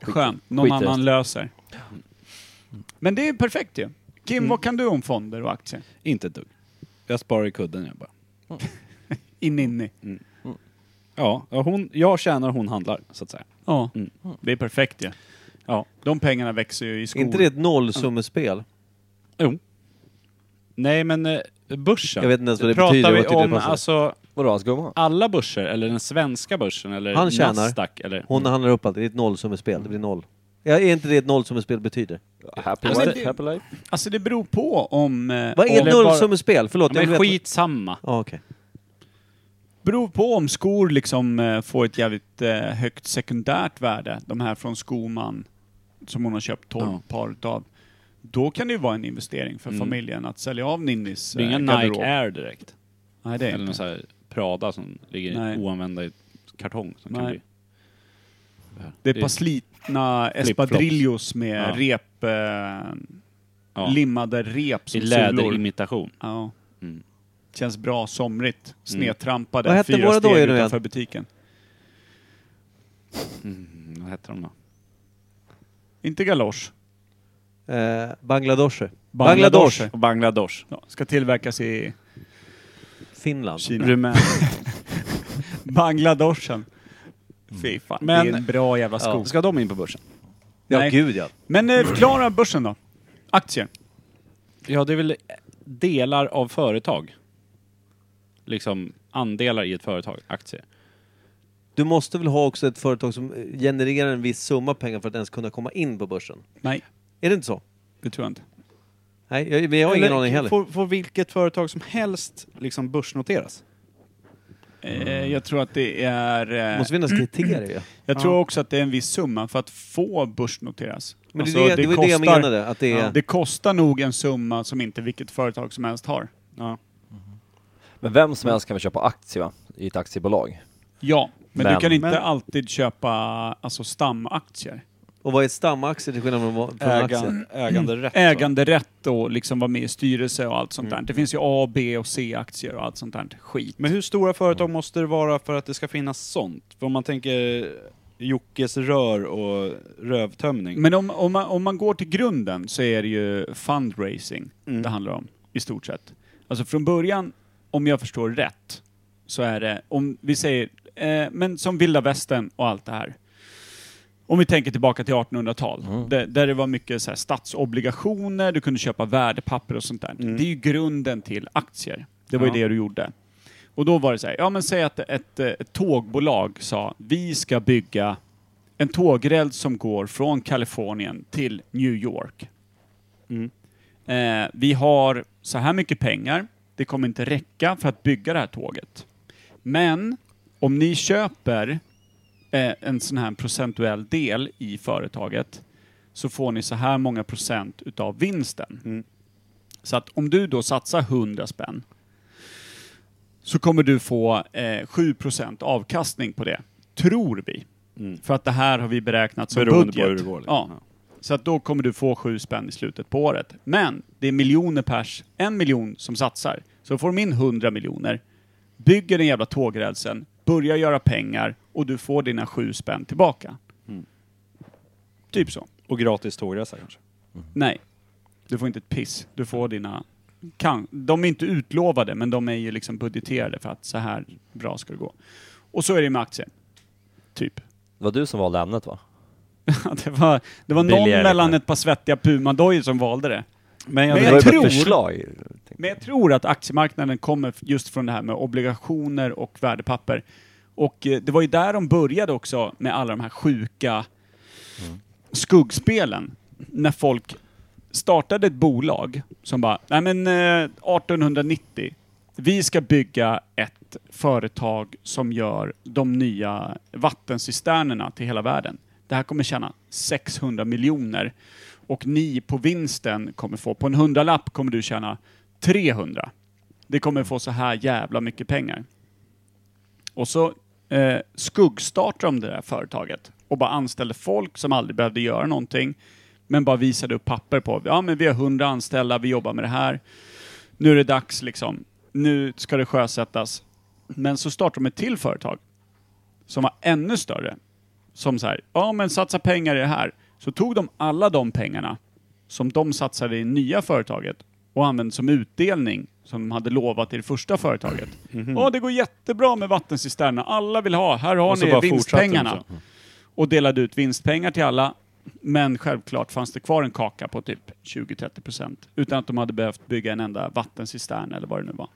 Speaker 4: Skönt. Någon
Speaker 3: skit i
Speaker 4: annan
Speaker 3: resten.
Speaker 4: löser. Men det är perfekt ju. Kim, vad kan du om fonder och aktier?
Speaker 2: Inte ett dugg. Jag sparar i kudden jag bara.
Speaker 4: In, in, i.
Speaker 2: Ja, ja, hon, jag tjänar, hon handlar, så att säga.
Speaker 4: Ja, Mm. det är perfekt ju. Ja. De pengarna växer ju i skor.
Speaker 1: inte det ett nollsummespel?
Speaker 2: Jo. Nej, men eh, börsen.
Speaker 1: Jag vet inte ens vad det
Speaker 2: Pratar
Speaker 1: betyder,
Speaker 2: vi
Speaker 1: vad tycker du
Speaker 2: om
Speaker 1: det passar?
Speaker 2: alltså,
Speaker 3: Vadå, hans gumma?
Speaker 2: alla börser? Eller den svenska börsen? Eller
Speaker 1: Han tjänar.
Speaker 2: Nasdaq? Eller?
Speaker 1: Hon handlar upp allt. Det är ett nollsummespel. Det blir noll. Ja, är inte det ett nollsummespel betyder?
Speaker 3: Happy
Speaker 4: Alltså,
Speaker 3: life,
Speaker 4: det-
Speaker 3: happy life.
Speaker 4: Alltså det beror på om... eh,
Speaker 1: Vad är
Speaker 4: om-
Speaker 1: ett nollsummespel? Förlåt,
Speaker 2: Ja, men
Speaker 1: jag vet-
Speaker 2: skitsamma.
Speaker 1: Ja, okej.
Speaker 4: beror på om skor liksom eh, får ett jävligt eh, högt sekundärt värde. De här från Skoman, som hon har köpt 12
Speaker 2: Ja.
Speaker 4: par utav. Då kan det ju vara en investering för
Speaker 2: Mm.
Speaker 4: familjen att sälja av Ninnis
Speaker 2: Det är
Speaker 4: eh,
Speaker 2: inga
Speaker 4: garderob.
Speaker 2: Nike Air direkt.
Speaker 4: Nej, det är
Speaker 2: Eller någon
Speaker 4: inte.
Speaker 2: sån här Prada som ligger
Speaker 4: Nej.
Speaker 2: oanvända i kartong. Som kan
Speaker 4: Nej.
Speaker 2: bli.
Speaker 4: Det är ett par slitna
Speaker 2: Flip-flops.
Speaker 4: espadrillos med
Speaker 2: Ja.
Speaker 4: rep... Eh,
Speaker 2: Ja.
Speaker 4: Limmade rep
Speaker 2: I
Speaker 4: som sulor.
Speaker 2: läderimitation.
Speaker 4: Ja.
Speaker 2: Mm.
Speaker 4: Känns bra somrigt. Snedtrampade
Speaker 1: Vad hette
Speaker 4: fyra
Speaker 1: våra
Speaker 4: steg
Speaker 1: dojor nu
Speaker 4: utanför
Speaker 1: igen?
Speaker 4: butiken.
Speaker 2: Mm, vad heter de då?
Speaker 4: Inte galosch.
Speaker 1: Eh, Bangladesh.
Speaker 4: Bangladesh.
Speaker 2: Och Bangladesh.
Speaker 4: Ja, ska tillverkas i [laughs]
Speaker 1: Finland.
Speaker 4: Kina.
Speaker 2: Rumän.
Speaker 4: Bangladeshen. Fy fan,
Speaker 2: Men-
Speaker 4: det är en bra jävla sko.
Speaker 2: Ja. Ska de in på börsen?
Speaker 1: Ja,
Speaker 4: Nej.
Speaker 1: gud ja.
Speaker 4: Men eh, förklara börsen då. Aktier.
Speaker 2: Ja, det är väl delar av företag. Liksom andelar i ett företag, aktier.
Speaker 1: Du måste väl ha också ett företag som eh, genererar en viss summa pengar för att ens kunna komma in på börsen?
Speaker 4: Nej,
Speaker 1: Är det inte så?
Speaker 4: det tror jag inte.
Speaker 1: Nej, jag, jag har ingen
Speaker 2: Eller
Speaker 1: aning heller.
Speaker 2: Får, får vilket företag som helst liksom börsnoteras?
Speaker 4: Eh, jag tror att det är...
Speaker 1: Det
Speaker 4: Eh,
Speaker 1: måste finnas
Speaker 4: [clears throat]
Speaker 1: kriterier ju.
Speaker 4: jag tror också att det är en viss summa för att få börsnoteras.
Speaker 1: Men det,
Speaker 4: Alltså,
Speaker 1: är det, det var ju det jag
Speaker 4: kostar-
Speaker 1: menade. Att det är...
Speaker 4: Ja. Det kostar nog en summa som inte vilket företag som helst har.
Speaker 3: Men vem som helst kan väl köpa aktier va? I ett aktiebolag?
Speaker 4: Ja, men,
Speaker 3: Men-
Speaker 4: du kan inte
Speaker 3: men-
Speaker 4: alltid köpa alltså, stamaktier.
Speaker 1: Och vad är stamaktier till skillnad från, från aktier?
Speaker 2: äganderätt.
Speaker 4: Äganderätt och liksom vara med i styrelse och allt sånt där. Det finns ju A, B och C-aktier och allt sånt där skit.
Speaker 2: Men hur stora företag måste det vara för att det ska finnas sånt? För om man tänker Jockes rör och rövtömning.
Speaker 4: Men om, om, man, om man går till grunden så är det ju fundraising
Speaker 2: Mm.
Speaker 4: det handlar om i stort sett. Alltså från början, om jag förstår rätt, så är det, om vi säger, eh, men som vilda västern och allt det här. Om vi tänker tillbaka till 1800-tal, där, där det var mycket så här, statsobligationer, du kunde köpa värdepapper och sånt där. Det är ju grunden till aktier. Det var ju det du gjorde. Och då var det så här, ja men säg att ett, eh, ett tågbolag sa, vi ska bygga en tågräls som går från Kalifornien till New York. Eh, vi har så här mycket pengar, det kommer inte räcka för att bygga det här tåget. Men om ni köper eh, en sån här procentuell del i företaget så får ni så här många procent utav vinsten.
Speaker 2: Mm.
Speaker 4: Så att om du då satsar 100 spänn så kommer du få eh, 7 procent avkastning på det, tror vi. För att det här har vi beräknat som
Speaker 2: Mm. Beroende på
Speaker 4: budget.
Speaker 2: hur det går, liksom.
Speaker 4: ja. Så att då kommer du få 7 spänn i slutet på året. Men det är miljoner pers, en miljon som satsar. Så får de in 100 miljoner, bygger den jävla tågrälsen, börjar göra pengar och du får dina 7 spänn tillbaka.
Speaker 2: Mm.
Speaker 4: Typ så.
Speaker 2: Och gratis tågresa kanske.
Speaker 4: Nej. Du får inte ett piss. Du får dina... Kan. De är inte utlovade, men de är ju liksom budgeterade för att så här bra ska det gå. Och så är det med aktier. Typ. [laughs]
Speaker 3: Det var du som valde ämnet va?
Speaker 4: det var, det var någon
Speaker 3: Billigare.
Speaker 4: mellan ett par svettiga pumadojor som valde det.
Speaker 2: Men
Speaker 4: Men
Speaker 2: jag,
Speaker 3: det var ju bara
Speaker 4: tror-
Speaker 3: ett förslag.
Speaker 4: Men jag tror att aktiemarknaden kommer just från det här med obligationer och värdepapper. Och eh, det var ju där de började också med alla de här sjuka skuggspelen. När folk startade ett bolag som bara, nej men eh, 1890, vi ska bygga ett företag som gör de nya vattencisternerna till hela världen. Det här kommer tjäna 600 miljoner och ni på vinsten kommer få, på en hundralapp kommer du tjäna 300. Det kommer få så här jävla mycket pengar. Och så eh, skuggstartade de det där företaget och bara anställde folk som aldrig behövde göra någonting. Men bara visade upp papper på, ja men vi har 100 anställda, vi jobbar med det här. Nu är det dags liksom. Nu ska det sjösättas. Men så startade de ett till företag som var ännu större. Som så här, ja men satsa pengar i det här. Så tog de alla de pengarna som de satsade i nya företaget och använde som utdelning som de hade lovat i det första företaget. Ja, det går jättebra med vattencisternerna. Alla vill ha. Här har
Speaker 2: Mhm. Och så
Speaker 4: ni
Speaker 2: bara fortsatte de
Speaker 4: vinstpengarna.
Speaker 2: så.
Speaker 4: Och delade ut vinstpengar till alla Men självklart fanns det kvar en kaka på typ 20-30 procent utan att de hade behövt bygga en enda vattencistern eller vad det nu var.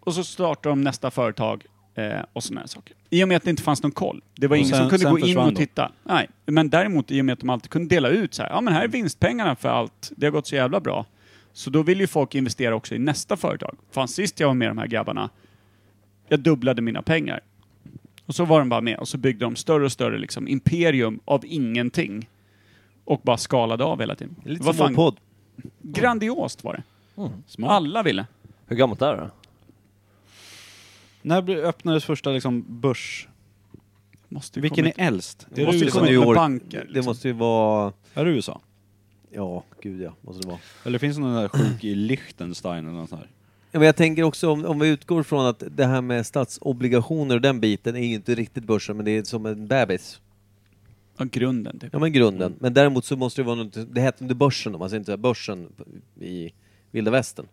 Speaker 4: Och så startade de nästa företag eh, och sådana här saker. I och med att det inte fanns någon koll. Det var
Speaker 5: Och
Speaker 4: ingen
Speaker 5: sen-
Speaker 4: som kunde
Speaker 5: sen
Speaker 4: gå in
Speaker 5: försvann
Speaker 4: och
Speaker 5: de.
Speaker 4: titta. Nej, men däremot i och med att de alltid kunde dela ut så här, ja men här är vinstpengarna för allt, det har gått så jävla bra. Så då vill ju folk investera också i nästa företag. Fan, sist jag var med de här grabbarna, jag dubblade mina pengar. Och så var de bara med och så byggde de större och större liksom, imperium av ingenting. Och bara skalade av hela tiden.
Speaker 1: Lite
Speaker 4: Vad
Speaker 1: som vår
Speaker 4: fan,
Speaker 1: podd.
Speaker 4: Grandiost var det.
Speaker 5: Mm. Smart.
Speaker 4: Alla ville.
Speaker 3: Hur gammalt är det då?
Speaker 5: När blev- öppnades första liksom börs...
Speaker 4: Måste ju
Speaker 5: Vilken
Speaker 4: komma
Speaker 5: är äldst?
Speaker 4: Det måste ju
Speaker 5: USA?
Speaker 4: komma ut med
Speaker 1: York.
Speaker 4: banker.
Speaker 1: liksom
Speaker 4: liksom.
Speaker 1: Det måste ju vara...
Speaker 5: Är det USA?
Speaker 1: Ja, gud ja. Måste det vara.
Speaker 5: Eller finns det någon där sjuk i Liechtenstein eller något sånt här?
Speaker 1: Ja, men jag tänker också om, om vi utgår från att det här med statsobligationer och den biten är ju inte riktigt börsen men det är som en bebis.
Speaker 4: Ja, grunden typ.
Speaker 1: Ja men grunden.
Speaker 3: Mm.
Speaker 1: Men däremot så måste det vara något, det hette inte börsen om man säger inte så här, börsen i vilda västern.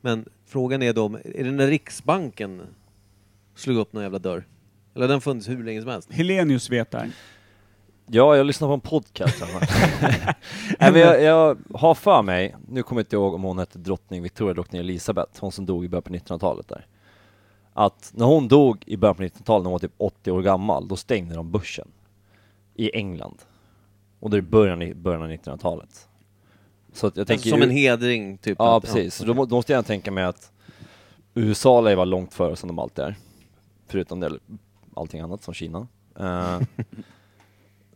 Speaker 1: Men frågan är då, om- är det när Riksbanken slog upp någon jävla dörr? Eller har den funnits hur länge som helst?
Speaker 4: Helenius vet det här.
Speaker 3: Ja, jag lyssnar på en
Speaker 4: [laughs]
Speaker 3: podcast. här. Nej, men jag, jag har för mig, nu kommer jag inte ihåg om hon hette drottning Victoria, drottning Elisabeth, hon som dog i början på 1900-talet där. Att när hon dog i början på 1900-talet, när hon var typ 80 år gammal, då stängde de börsen. I England. Och det är början, i- början av 1900-talet. Så att jag tänker
Speaker 1: som
Speaker 3: ju-
Speaker 1: en hedring typ?
Speaker 3: Ja,
Speaker 1: Att-
Speaker 3: precis. Så
Speaker 1: okej.
Speaker 3: då, må- då måste jag tänka mig att USA lär ju vara långt före som de alltid är. Förutom det, allting annat som Kina.
Speaker 4: [laughs]
Speaker 3: Eh,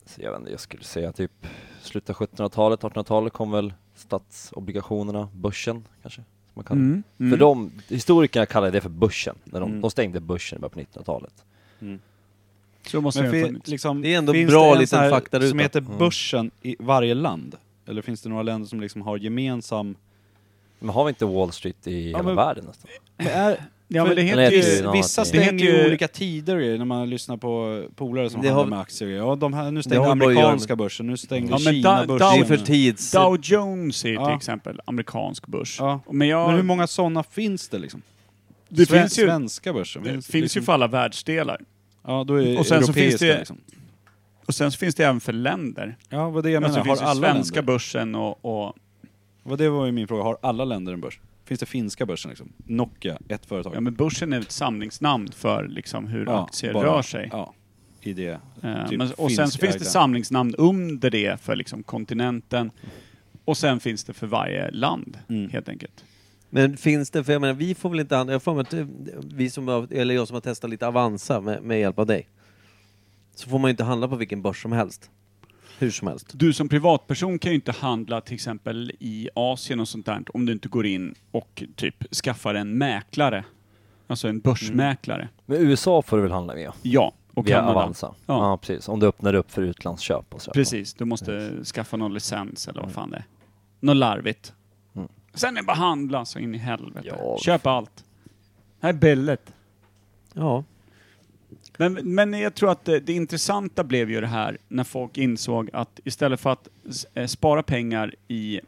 Speaker 3: så jag vet inte, jag skulle säga typ slutet av 1700-talet, 1800-talet kom väl statsobligationerna, börsen kanske? Som man kallar. det.
Speaker 4: Mm. Mm.
Speaker 3: För de, historikerna kallar det för börsen, när de,
Speaker 5: Mm.
Speaker 3: de stängde börsen i början på 1900-talet.
Speaker 4: Så måste
Speaker 5: Men
Speaker 4: det ha
Speaker 5: fin,
Speaker 4: funnits.
Speaker 5: liksom,
Speaker 1: Det är ändå
Speaker 5: finns
Speaker 1: bra
Speaker 5: det en
Speaker 1: liten
Speaker 5: sån här
Speaker 1: faktaruta.
Speaker 5: som heter
Speaker 3: Mm.
Speaker 5: börsen i varje land? Eller finns det några länder som liksom har gemensam...
Speaker 3: Men har vi inte Wall Street i
Speaker 5: Ja,
Speaker 3: hela
Speaker 5: men-
Speaker 3: världen nästan?
Speaker 4: Ja, men det
Speaker 3: Eller
Speaker 4: heter
Speaker 3: heter
Speaker 4: ju...
Speaker 3: det något
Speaker 5: vissa
Speaker 3: annat?
Speaker 4: Det
Speaker 5: stänger
Speaker 4: heter
Speaker 5: ju
Speaker 4: ju-
Speaker 5: olika tider och grejer när man lyssnar på polare som
Speaker 1: Det har-
Speaker 5: handlar med aktier. och grejer. Ja, de här, nu
Speaker 1: har
Speaker 5: stängde
Speaker 1: bara att göra med-
Speaker 5: amerikanska börsen, nu stängde
Speaker 4: Ja, men da-
Speaker 5: Kina-börsen.
Speaker 1: Det är för tids...
Speaker 4: Dow Jones är ju till
Speaker 5: Ja.
Speaker 4: exempel amerikansk börs.
Speaker 5: Ja.
Speaker 4: Men, jag,
Speaker 5: Men hur många sådana finns det liksom?
Speaker 4: det
Speaker 5: Sve-
Speaker 4: finns ju,
Speaker 5: Svenska börsen?
Speaker 4: det finns
Speaker 5: liksom,
Speaker 4: ju för alla världsdelar.
Speaker 5: Ja, då är det
Speaker 4: Och sen så
Speaker 5: europeiska,
Speaker 4: finns det-
Speaker 5: Liksom.
Speaker 4: Och sen så finns det även för länder.
Speaker 5: Ja, vad det jag
Speaker 4: Jag
Speaker 5: menar.
Speaker 4: alltså, det
Speaker 5: Har
Speaker 4: finns ju
Speaker 5: alla
Speaker 4: svenska
Speaker 5: länder?
Speaker 4: börsen och, och...
Speaker 5: Vad det var ju min fråga. Har alla länder en börs? Finns det finska börsen liksom? Nokia, ett företag.
Speaker 4: Ja, men börsen är ett samlingsnamn för liksom hur
Speaker 5: Ja,
Speaker 4: aktier
Speaker 5: bara-
Speaker 4: rör sig.
Speaker 5: Ja, i det.
Speaker 4: Eh,
Speaker 5: typ
Speaker 4: men, och sen så finns det
Speaker 5: finskägda.
Speaker 4: samlingsnamn under det för liksom kontinenten. Och sen finns det för varje land,
Speaker 5: Mm.
Speaker 4: helt enkelt.
Speaker 1: Men finns det, för jag menar vi får väl inte, an- jag får mig att eh, vi som har, eller jag som har testat lite Avanza med, med hjälp av dig. Så får man ju inte handla på vilken börs som helst. Hur som helst.
Speaker 4: Du som privatperson kan ju inte handla till exempel i Asien och sånt där om du inte går in och typ skaffar en mäklare. Alltså en börsmäklare.
Speaker 3: Men USA får du väl handla via?
Speaker 4: Ja, och
Speaker 3: Mm. via
Speaker 4: Kanada.
Speaker 3: Avanza? Ja.
Speaker 4: Ja.
Speaker 3: precis. Om du öppnar upp för utlandsköp och så.
Speaker 4: Precis, du måste skaffa någon licens eller vad fan det är. Något larvigt.
Speaker 3: Mm.
Speaker 4: Sen är det bara handla så in i helvete.
Speaker 3: Ja.
Speaker 4: Köp allt. Här är billigt.
Speaker 1: Ja.
Speaker 4: Men, men jag tror att det, det intressanta blev ju det här när folk insåg att istället för att s- eh, spara pengar i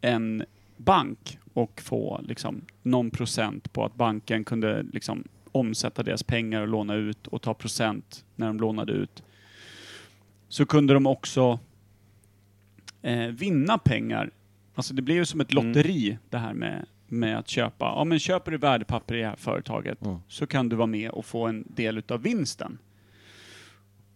Speaker 4: en bank och få liksom någon procent på att banken kunde liksom omsätta deras pengar och låna ut och ta procent när de lånade ut. Så kunde de också eh, vinna pengar. Alltså det blev ju som ett
Speaker 5: Mm.
Speaker 4: lotteri det här med, med att köpa. Ja men köper du värdepapper i det här företaget
Speaker 3: Mm.
Speaker 4: så kan du vara med och få en del utav vinsten.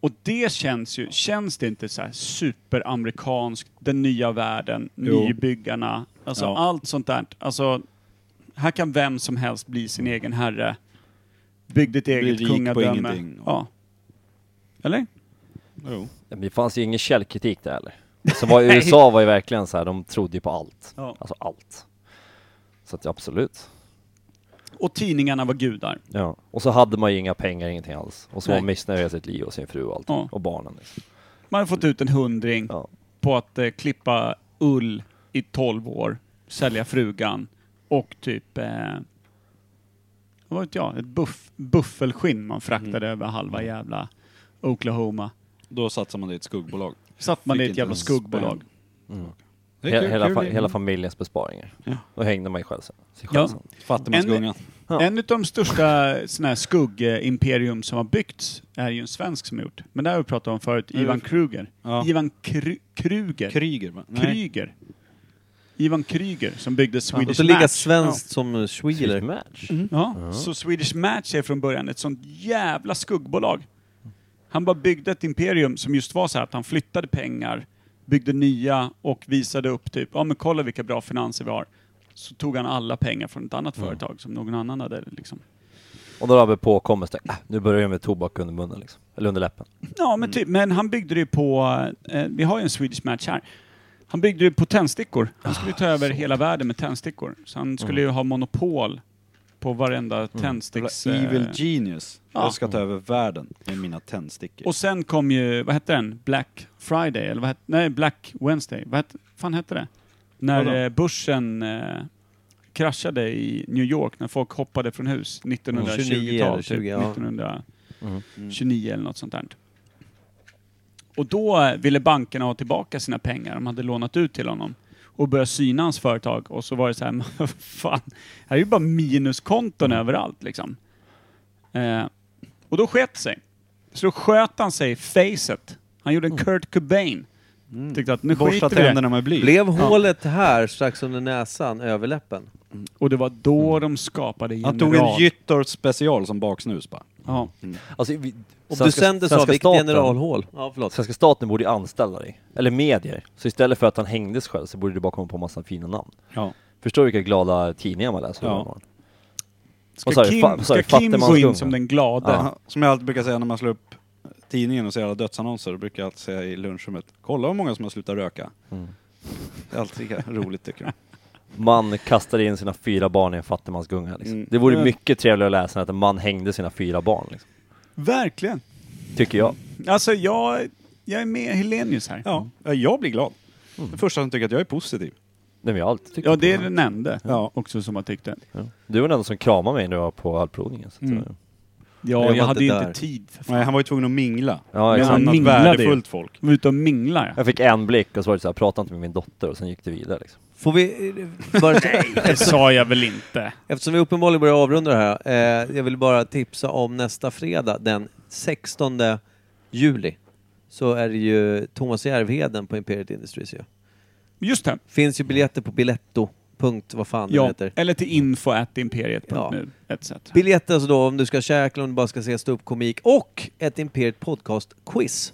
Speaker 4: Och det känns ju, känns det inte så här superamerikanskt, den nya världen,
Speaker 5: Jo.
Speaker 4: nybyggarna, alltså
Speaker 5: Ja.
Speaker 4: allt sånt där. Alltså, här kan vem som helst bli sin egen herre. Bygg ditt eget
Speaker 5: rik på
Speaker 4: kungadöme.
Speaker 5: ingenting.
Speaker 4: Ja. Eller?
Speaker 5: Jo.
Speaker 3: Ja, men det fanns ju ingen källkritik där
Speaker 4: [laughs]
Speaker 3: heller. Så var ju USA var ju verkligen så här, de trodde ju på allt.
Speaker 4: Ja.
Speaker 3: Alltså allt. Så att ja, absolut.
Speaker 4: Och tidningarna var gudar.
Speaker 3: Ja. Och så hade man ju inga pengar, ingenting alls. Och så var
Speaker 4: Nej.
Speaker 3: man missnöjd med sitt liv och sin fru och allt.
Speaker 4: Ja.
Speaker 3: Och barnen. Liksom.
Speaker 4: Man har fått ut en hundring
Speaker 3: Ja.
Speaker 4: på att eh, klippa ull i 12 år, sälja frugan och typ, eh, vad vet jag, ett buff, buffelskinn man fraktade
Speaker 5: Mm.
Speaker 4: över halva jävla Oklahoma.
Speaker 5: Då satsar man det i ett skuggbolag.
Speaker 4: Satt man
Speaker 5: Fick
Speaker 4: i ett
Speaker 5: inte
Speaker 4: jävla
Speaker 5: en
Speaker 4: skuggbolag.
Speaker 5: spänn.
Speaker 3: He- hela, fa- hela familjens besparingar.
Speaker 5: Ja.
Speaker 3: Då hängde man ju själv sen. sig
Speaker 4: Ja.
Speaker 3: själv sen.
Speaker 5: Fattigmansgungan.
Speaker 4: En av de största såna här skuggimperium som har byggts är ju en svensk som har gjort. Men det har vi pratat om förut, Ivan Kruger.
Speaker 2: Ja.
Speaker 4: Ivan Kru- Kruger?
Speaker 2: Kryger, va? Nej.
Speaker 4: Kryger. Ivan Kryger som byggde
Speaker 1: Och
Speaker 4: Swedish
Speaker 1: så ligga
Speaker 4: Match.
Speaker 1: svenskt som eh, Schwiler.
Speaker 3: Match.
Speaker 4: Ja. Ja. Så Swedish Match är från början ett sånt jävla skuggbolag. Han bara byggde ett imperium som just var så här att han flyttade pengar, byggde nya och visade upp typ, ja men kolla vilka bra finanser vi har. Så tog han alla pengar från ett annat företag som någon annan hade liksom.
Speaker 3: Och då har vi påkommelsen, äh, nu börjar jag med tobak under munnen liksom. Eller under läppen.
Speaker 4: Ja, men, typ, men han byggde det ju på, eh, vi har ju en Swedish Match här. Han byggde det på tändstickor. Han skulle ta över hela världen med tändstickor. Så han skulle ju ha monopol på varenda tändsticks...
Speaker 2: Jävla
Speaker 4: eh,
Speaker 2: Evil genius.
Speaker 4: ja.
Speaker 2: Jag ska ta över världen med mina tändstickor.
Speaker 4: Och sen kom ju, vad hette den? Black Friday, eller vad hette, nej Black Wednesday. Vad hette, fan hette det?
Speaker 2: Vadå?
Speaker 4: När eh, börsen eh, kraschade i New York, när folk hoppade från hus
Speaker 1: 29 eller
Speaker 4: 1920-tal,
Speaker 1: 20,
Speaker 4: typ,
Speaker 1: ja.
Speaker 4: 1929 eller något sånt där. Och då eh, ville bankerna ha tillbaka sina pengar de hade lånat ut till honom och började syna hans företag och så var det så här, [laughs] "Men vad fan, här är ju bara
Speaker 2: Mm.
Speaker 4: minuskonton överallt liksom. Eh, och då sket sig. Så då sköt han sig i facet. Han gjorde en Kurt Cobain. Tyckte att nu
Speaker 2: Mm. Borsta
Speaker 4: skiter vi i det.
Speaker 2: tänderna med bly.
Speaker 1: Blev hålet här strax under näsan överläppen?
Speaker 4: Och det var då de skapade General.
Speaker 2: Han tog en Gyttorp special som baksnus bara.
Speaker 4: Ja.
Speaker 3: Alltså, vi,
Speaker 1: Om
Speaker 3: svenska-
Speaker 1: du sänder så,
Speaker 3: svenska
Speaker 1: vilket
Speaker 3: staten-
Speaker 1: generalhål? Ja, förlåt.
Speaker 3: Svenska staten borde ju anställa dig, eller medier. Så istället för att han hängdes själv så borde du bara komma på massa fina namn.
Speaker 2: Ja.
Speaker 3: Förstår du vilka glada tidningar man läser?
Speaker 2: Ja.
Speaker 3: varje morgon?
Speaker 4: Ska
Speaker 3: Vad sa du?
Speaker 4: Kim,
Speaker 3: Fa- vad sa du?
Speaker 4: ska Kim gå in
Speaker 3: Fattigmanskungen?
Speaker 4: som den glade?
Speaker 3: Ja.
Speaker 2: Som jag alltid brukar säga när man slår upp tidningen och ser alla dödsannonser, då brukar jag alltid säga i lunchrummet, kolla hur många som har slutat röka. Det är alltid lika roligt tycker de.
Speaker 3: Man kastade in sina fyra barn i en fattigmansgunga liksom.
Speaker 2: Mm.
Speaker 3: Det vore
Speaker 2: Mm.
Speaker 3: mycket trevligare att läsa än att en man hängde sina fyra barn liksom.
Speaker 4: Verkligen.
Speaker 3: Tycker jag.
Speaker 4: Alltså jag, jag är med Helenius här.
Speaker 2: Ja, jag blir glad. Den första som tycker att jag är positiv.
Speaker 3: Nej men jag har alltid tyckt
Speaker 4: Ja,
Speaker 3: det.
Speaker 4: det är den enda
Speaker 2: Ja.
Speaker 4: också som har tyckt det.
Speaker 3: Du var den enda som kramade mig när jag var på ölprovningen. Så att,
Speaker 4: Mm.
Speaker 3: eh,
Speaker 1: jag
Speaker 4: Ja,
Speaker 1: var
Speaker 4: jag hade
Speaker 1: inte
Speaker 4: ju
Speaker 1: där.
Speaker 4: inte tid för fan.
Speaker 2: Nej, han var ju tvungen att mingla.
Speaker 3: Ja,
Speaker 2: Med
Speaker 3: exakt.
Speaker 2: annat
Speaker 4: Han minglade ju.
Speaker 2: värdefullt folk.
Speaker 4: Jag var ute och minglade.
Speaker 3: Jag fick en blick och så var det så här, prata inte med min dotter och sen gick det vidare liksom.
Speaker 1: Får vi... eh, Bara,
Speaker 4: [laughs] Det sa jag väl inte.
Speaker 1: eftersom vi uppenbarligen börjar avrunda det här. Eh, jag vill bara tipsa om nästa fredag, den 16 juli. Så är det ju Thomas Järvheden på Imperiet Industries ju.
Speaker 4: Just det.
Speaker 1: Finns ju biljetter på biletto. Punkt, vad fan det
Speaker 4: Ja,
Speaker 1: heter.
Speaker 4: eller till info at imperiet.nu etc.
Speaker 1: Biljetter alltså då om du ska käka, om du bara ska se ståuppkomik och ett Imperiet Podcast-quiz.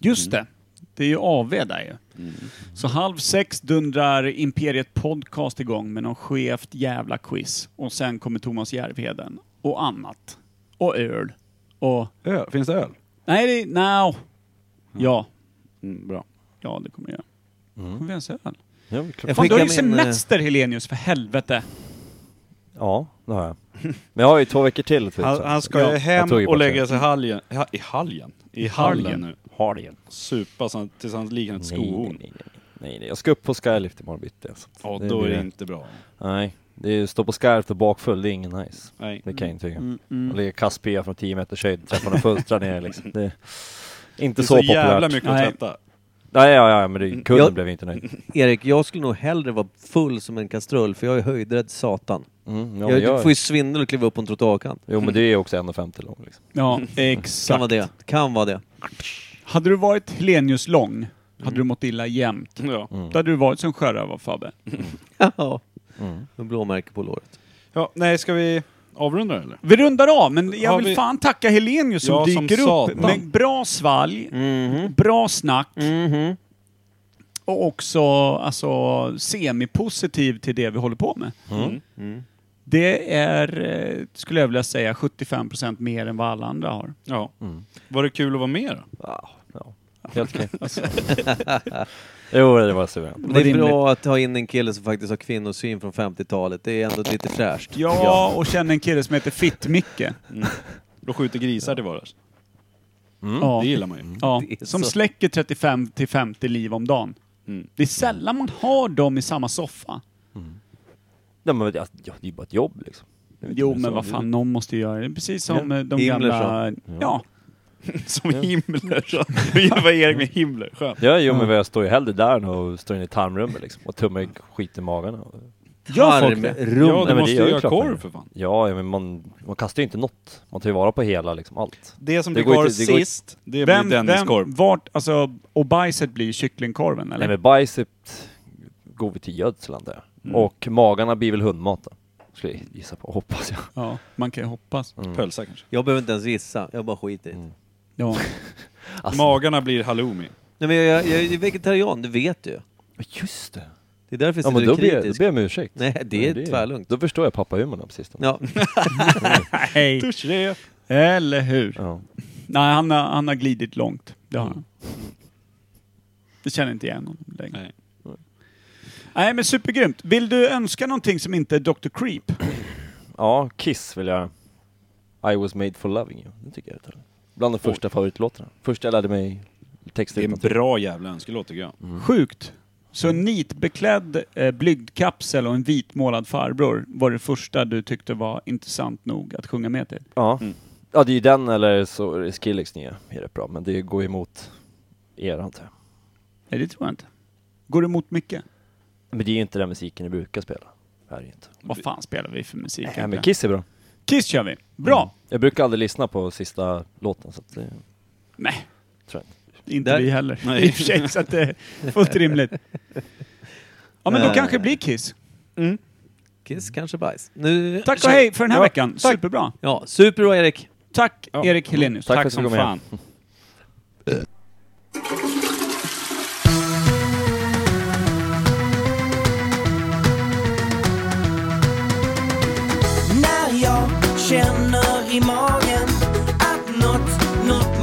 Speaker 4: Just det. Mm. Det är ju AV där ju. Så halv sex dundrar Imperiet Podcast igång med någon skevt jävla quiz. Och sen kommer Thomas Järvheden och annat. Och öl. Och...
Speaker 2: Öl. Finns det öl?
Speaker 4: Nej, det är... No. Ja.
Speaker 2: Mm, bra.
Speaker 4: Ja, det kommer jag göra. Kommer vi ens öl?
Speaker 3: Ja, det är klart.
Speaker 1: Jag
Speaker 4: Fan, du har ju
Speaker 1: skickar min, eh,
Speaker 4: semester Helenius, för helvete.
Speaker 3: ja, det
Speaker 2: [laughs]
Speaker 3: har jag. Men jag har ju två veckor till. Typ,
Speaker 2: Han, han ska ju hem
Speaker 3: Jag tog ju
Speaker 2: och
Speaker 3: bort
Speaker 2: lägga
Speaker 3: det.
Speaker 2: sig i haljen. Ja, I haljen? I hallen nu.
Speaker 3: Har det igen.
Speaker 2: Supa så han, tills han liknar ett
Speaker 3: Nej, nej,
Speaker 2: skohorn.
Speaker 3: nej, nej, nej, nej. Jag ska upp på Skylift imorgon bitti. Alltså.
Speaker 2: Ja,
Speaker 3: Det
Speaker 2: då är
Speaker 3: blir
Speaker 2: det
Speaker 3: det.
Speaker 2: inte bra.
Speaker 3: Nej, det är stå på Skylift och bakfull, det är ingen nice.
Speaker 2: Nej.
Speaker 3: Det kan jag intyga. Och ligga kastpia från 10 meters höjd, träffa någon fullstra ner liksom. Det är inte
Speaker 2: Det är
Speaker 3: så,
Speaker 2: så
Speaker 3: populärt.
Speaker 2: jävla mycket att
Speaker 4: Nej.
Speaker 2: tvätta. [laughs]
Speaker 3: Nej, ja, ja, men det, kunden
Speaker 1: Jag-
Speaker 3: blev inte nöjd.
Speaker 1: Erik, jag skulle nog hellre vara full som en kastrull för jag är höjdrädd satan.
Speaker 3: Mm, ja,
Speaker 1: jag,
Speaker 3: men jag,
Speaker 1: får ju svindel och kliva upp på en trottoarkant.
Speaker 3: jo, men det är också 1,50 lång liksom.
Speaker 2: Mm.
Speaker 4: Ja,
Speaker 1: Kan
Speaker 4: [laughs] exakt.
Speaker 1: vara det. Kan vara det.
Speaker 4: Hade du varit Helenius lång, hade
Speaker 2: Mm.
Speaker 4: du mått illa jämt.
Speaker 2: Ja.
Speaker 3: Mm.
Speaker 4: Då hade du varit som sjörövar-Fabbe.
Speaker 1: ja. Med blåmärke på låret.
Speaker 2: ja. Nej, ska vi avrunda det, eller?
Speaker 4: Vi rundar av, men jag
Speaker 2: Har
Speaker 4: vill
Speaker 2: vi-
Speaker 4: fan tacka Helenius som
Speaker 2: Ja, som
Speaker 4: dyker upp
Speaker 2: satan. Mhm.
Speaker 4: med bra svalg, bra snack och också alltså, semipositiv till det vi håller på med.
Speaker 2: Mm.
Speaker 4: Det är, eh, skulle jag vilja säga, 75% mer än vad alla andra har.
Speaker 2: Ja. Var det kul att vara med då?
Speaker 3: Ja, ja. Helt okej.
Speaker 4: Alltså,
Speaker 2: [laughs]
Speaker 3: jo, det var suveränt.
Speaker 1: Det är
Speaker 4: rimligt.
Speaker 1: bra att ha in en kille som faktiskt har kvinnosyn från 50-talet. Det är ändå lite fräscht.
Speaker 4: Ja, och känner en kille som heter Fitt-Micke.
Speaker 2: Då skjuter grisar till vardags.
Speaker 4: Ja.
Speaker 2: Mm. Det gillar man
Speaker 3: Mm.
Speaker 2: ju.
Speaker 4: Ja,
Speaker 1: Det är
Speaker 4: som
Speaker 1: så.
Speaker 4: släcker 35 till 50 liv om dagen.
Speaker 2: Mm.
Speaker 4: Det är sällan man har dem i samma soffa.
Speaker 3: Nej, men det, ja, det är ju bara ett jobb liksom. Det är
Speaker 4: Jo,
Speaker 3: inte
Speaker 4: men
Speaker 3: så.
Speaker 4: vad fan, någon måste ju göra det. Precis som eh, de
Speaker 1: Himmler
Speaker 4: gamla... [laughs] Ja.
Speaker 2: Som Himmler. så. Det
Speaker 4: [laughs]
Speaker 2: var Erik med Himmler. Skönt.
Speaker 3: Ja, jo men jag står ju hellre där än och står inne i tarmrummet liksom och tummar i skit i magen. Och...
Speaker 4: Gör folk det?
Speaker 1: Tarmrum.
Speaker 5: Ja, du
Speaker 3: men
Speaker 5: måste
Speaker 3: det gör
Speaker 5: ju
Speaker 3: ju
Speaker 5: göra
Speaker 3: klart man
Speaker 5: korv
Speaker 3: gör.
Speaker 5: för fan.
Speaker 3: Ja, ja, men man, man kastar ju inte något. Man tar ju vara på hela liksom allt.
Speaker 5: Det som
Speaker 3: Det
Speaker 5: blir
Speaker 3: går
Speaker 5: kvar
Speaker 3: inte- det går-
Speaker 5: sist, det blir
Speaker 4: Vem,
Speaker 5: Dennis
Speaker 4: vem,
Speaker 5: korv.
Speaker 4: vart, alltså, och bajset blir kycklingkorven eller?
Speaker 3: Nej men bajset går vi till gödsel antar jag. Och magarna blir väl hundmat då. Skulle jag gissa på, hoppas jag.
Speaker 4: Ja, man kan ju hoppas.
Speaker 2: Mm.
Speaker 3: Mm.
Speaker 5: Pölsa kanske.
Speaker 1: Jag behöver inte ens gissa, jag bara skiter i det.
Speaker 4: Ja.
Speaker 3: Alltså,
Speaker 5: Magarna blir halloumi.
Speaker 1: Nej men jag, jag, jag är vegetarian, det vet du
Speaker 3: just det!
Speaker 1: Det är därför jag
Speaker 3: Ja men
Speaker 1: sitter
Speaker 3: då
Speaker 1: och
Speaker 3: ber, jag- då
Speaker 1: kritisk.
Speaker 3: ber jag om ursäkt.
Speaker 1: Nej, det är tvärlugnt.
Speaker 3: Då förstår jag pappahumorn på sistone.
Speaker 1: Ja. [laughs]
Speaker 4: Nej. Eller hur?
Speaker 3: Ja.
Speaker 4: Nej, han har, han har glidit långt. Det har han. Det känner inte igen honom längre. Nej.
Speaker 5: Nej.
Speaker 4: Nej, men supergrymt. Vill du önska någonting som inte är Dr. Creep?
Speaker 3: Mm. Ja, Kiss vill jag I was made for loving you, det tycker jag är det. Bland de första favoritlåtarna. Först jag lärde mig texter Mm.
Speaker 5: Det är en
Speaker 3: utantill.
Speaker 5: bra jävla önskelåt tycker jag.
Speaker 4: Sjukt. Så en nitbeklädd eh, blygdkapsel och en vitmålad farbror var det första du tyckte var intressant nog att sjunga med till?
Speaker 3: Ja.
Speaker 5: Mm.
Speaker 3: ja, det är ju den eller så är det Skrillex nya är rätt bra, men det går emot er antar jag.
Speaker 4: Nej, det tror jag inte. Går det emot mycket?
Speaker 3: Men det är ju inte den musiken ni brukar spela. Det här är ju inte.
Speaker 4: Vad fan spelar vi för musik?
Speaker 3: Nej, men
Speaker 4: egentligen?
Speaker 3: Kiss är bra.
Speaker 4: Kiss kör vi. Bra!
Speaker 3: Jag brukar aldrig lyssna på sista låten så att det...
Speaker 4: Nej.
Speaker 3: Tror jag
Speaker 4: Inte
Speaker 1: Där-
Speaker 4: vi heller.
Speaker 5: Nej.
Speaker 4: I och för sig, så att det är fullt rimligt. Ja, men då
Speaker 1: Eh.
Speaker 4: kanske det blir Kiss.
Speaker 1: Kiss kanske bajs. Nu...
Speaker 4: Tack och hej för den här
Speaker 1: Ja,
Speaker 4: veckan.
Speaker 1: tack.
Speaker 4: Superbra.
Speaker 1: Ja, superbra Erik!
Speaker 4: Tack Erik Helenius.
Speaker 3: Tack
Speaker 5: Tack,
Speaker 3: för att du
Speaker 5: som
Speaker 3: kom
Speaker 5: fan.
Speaker 3: med.
Speaker 10: När jag känner i magen att något, något
Speaker 7: oh,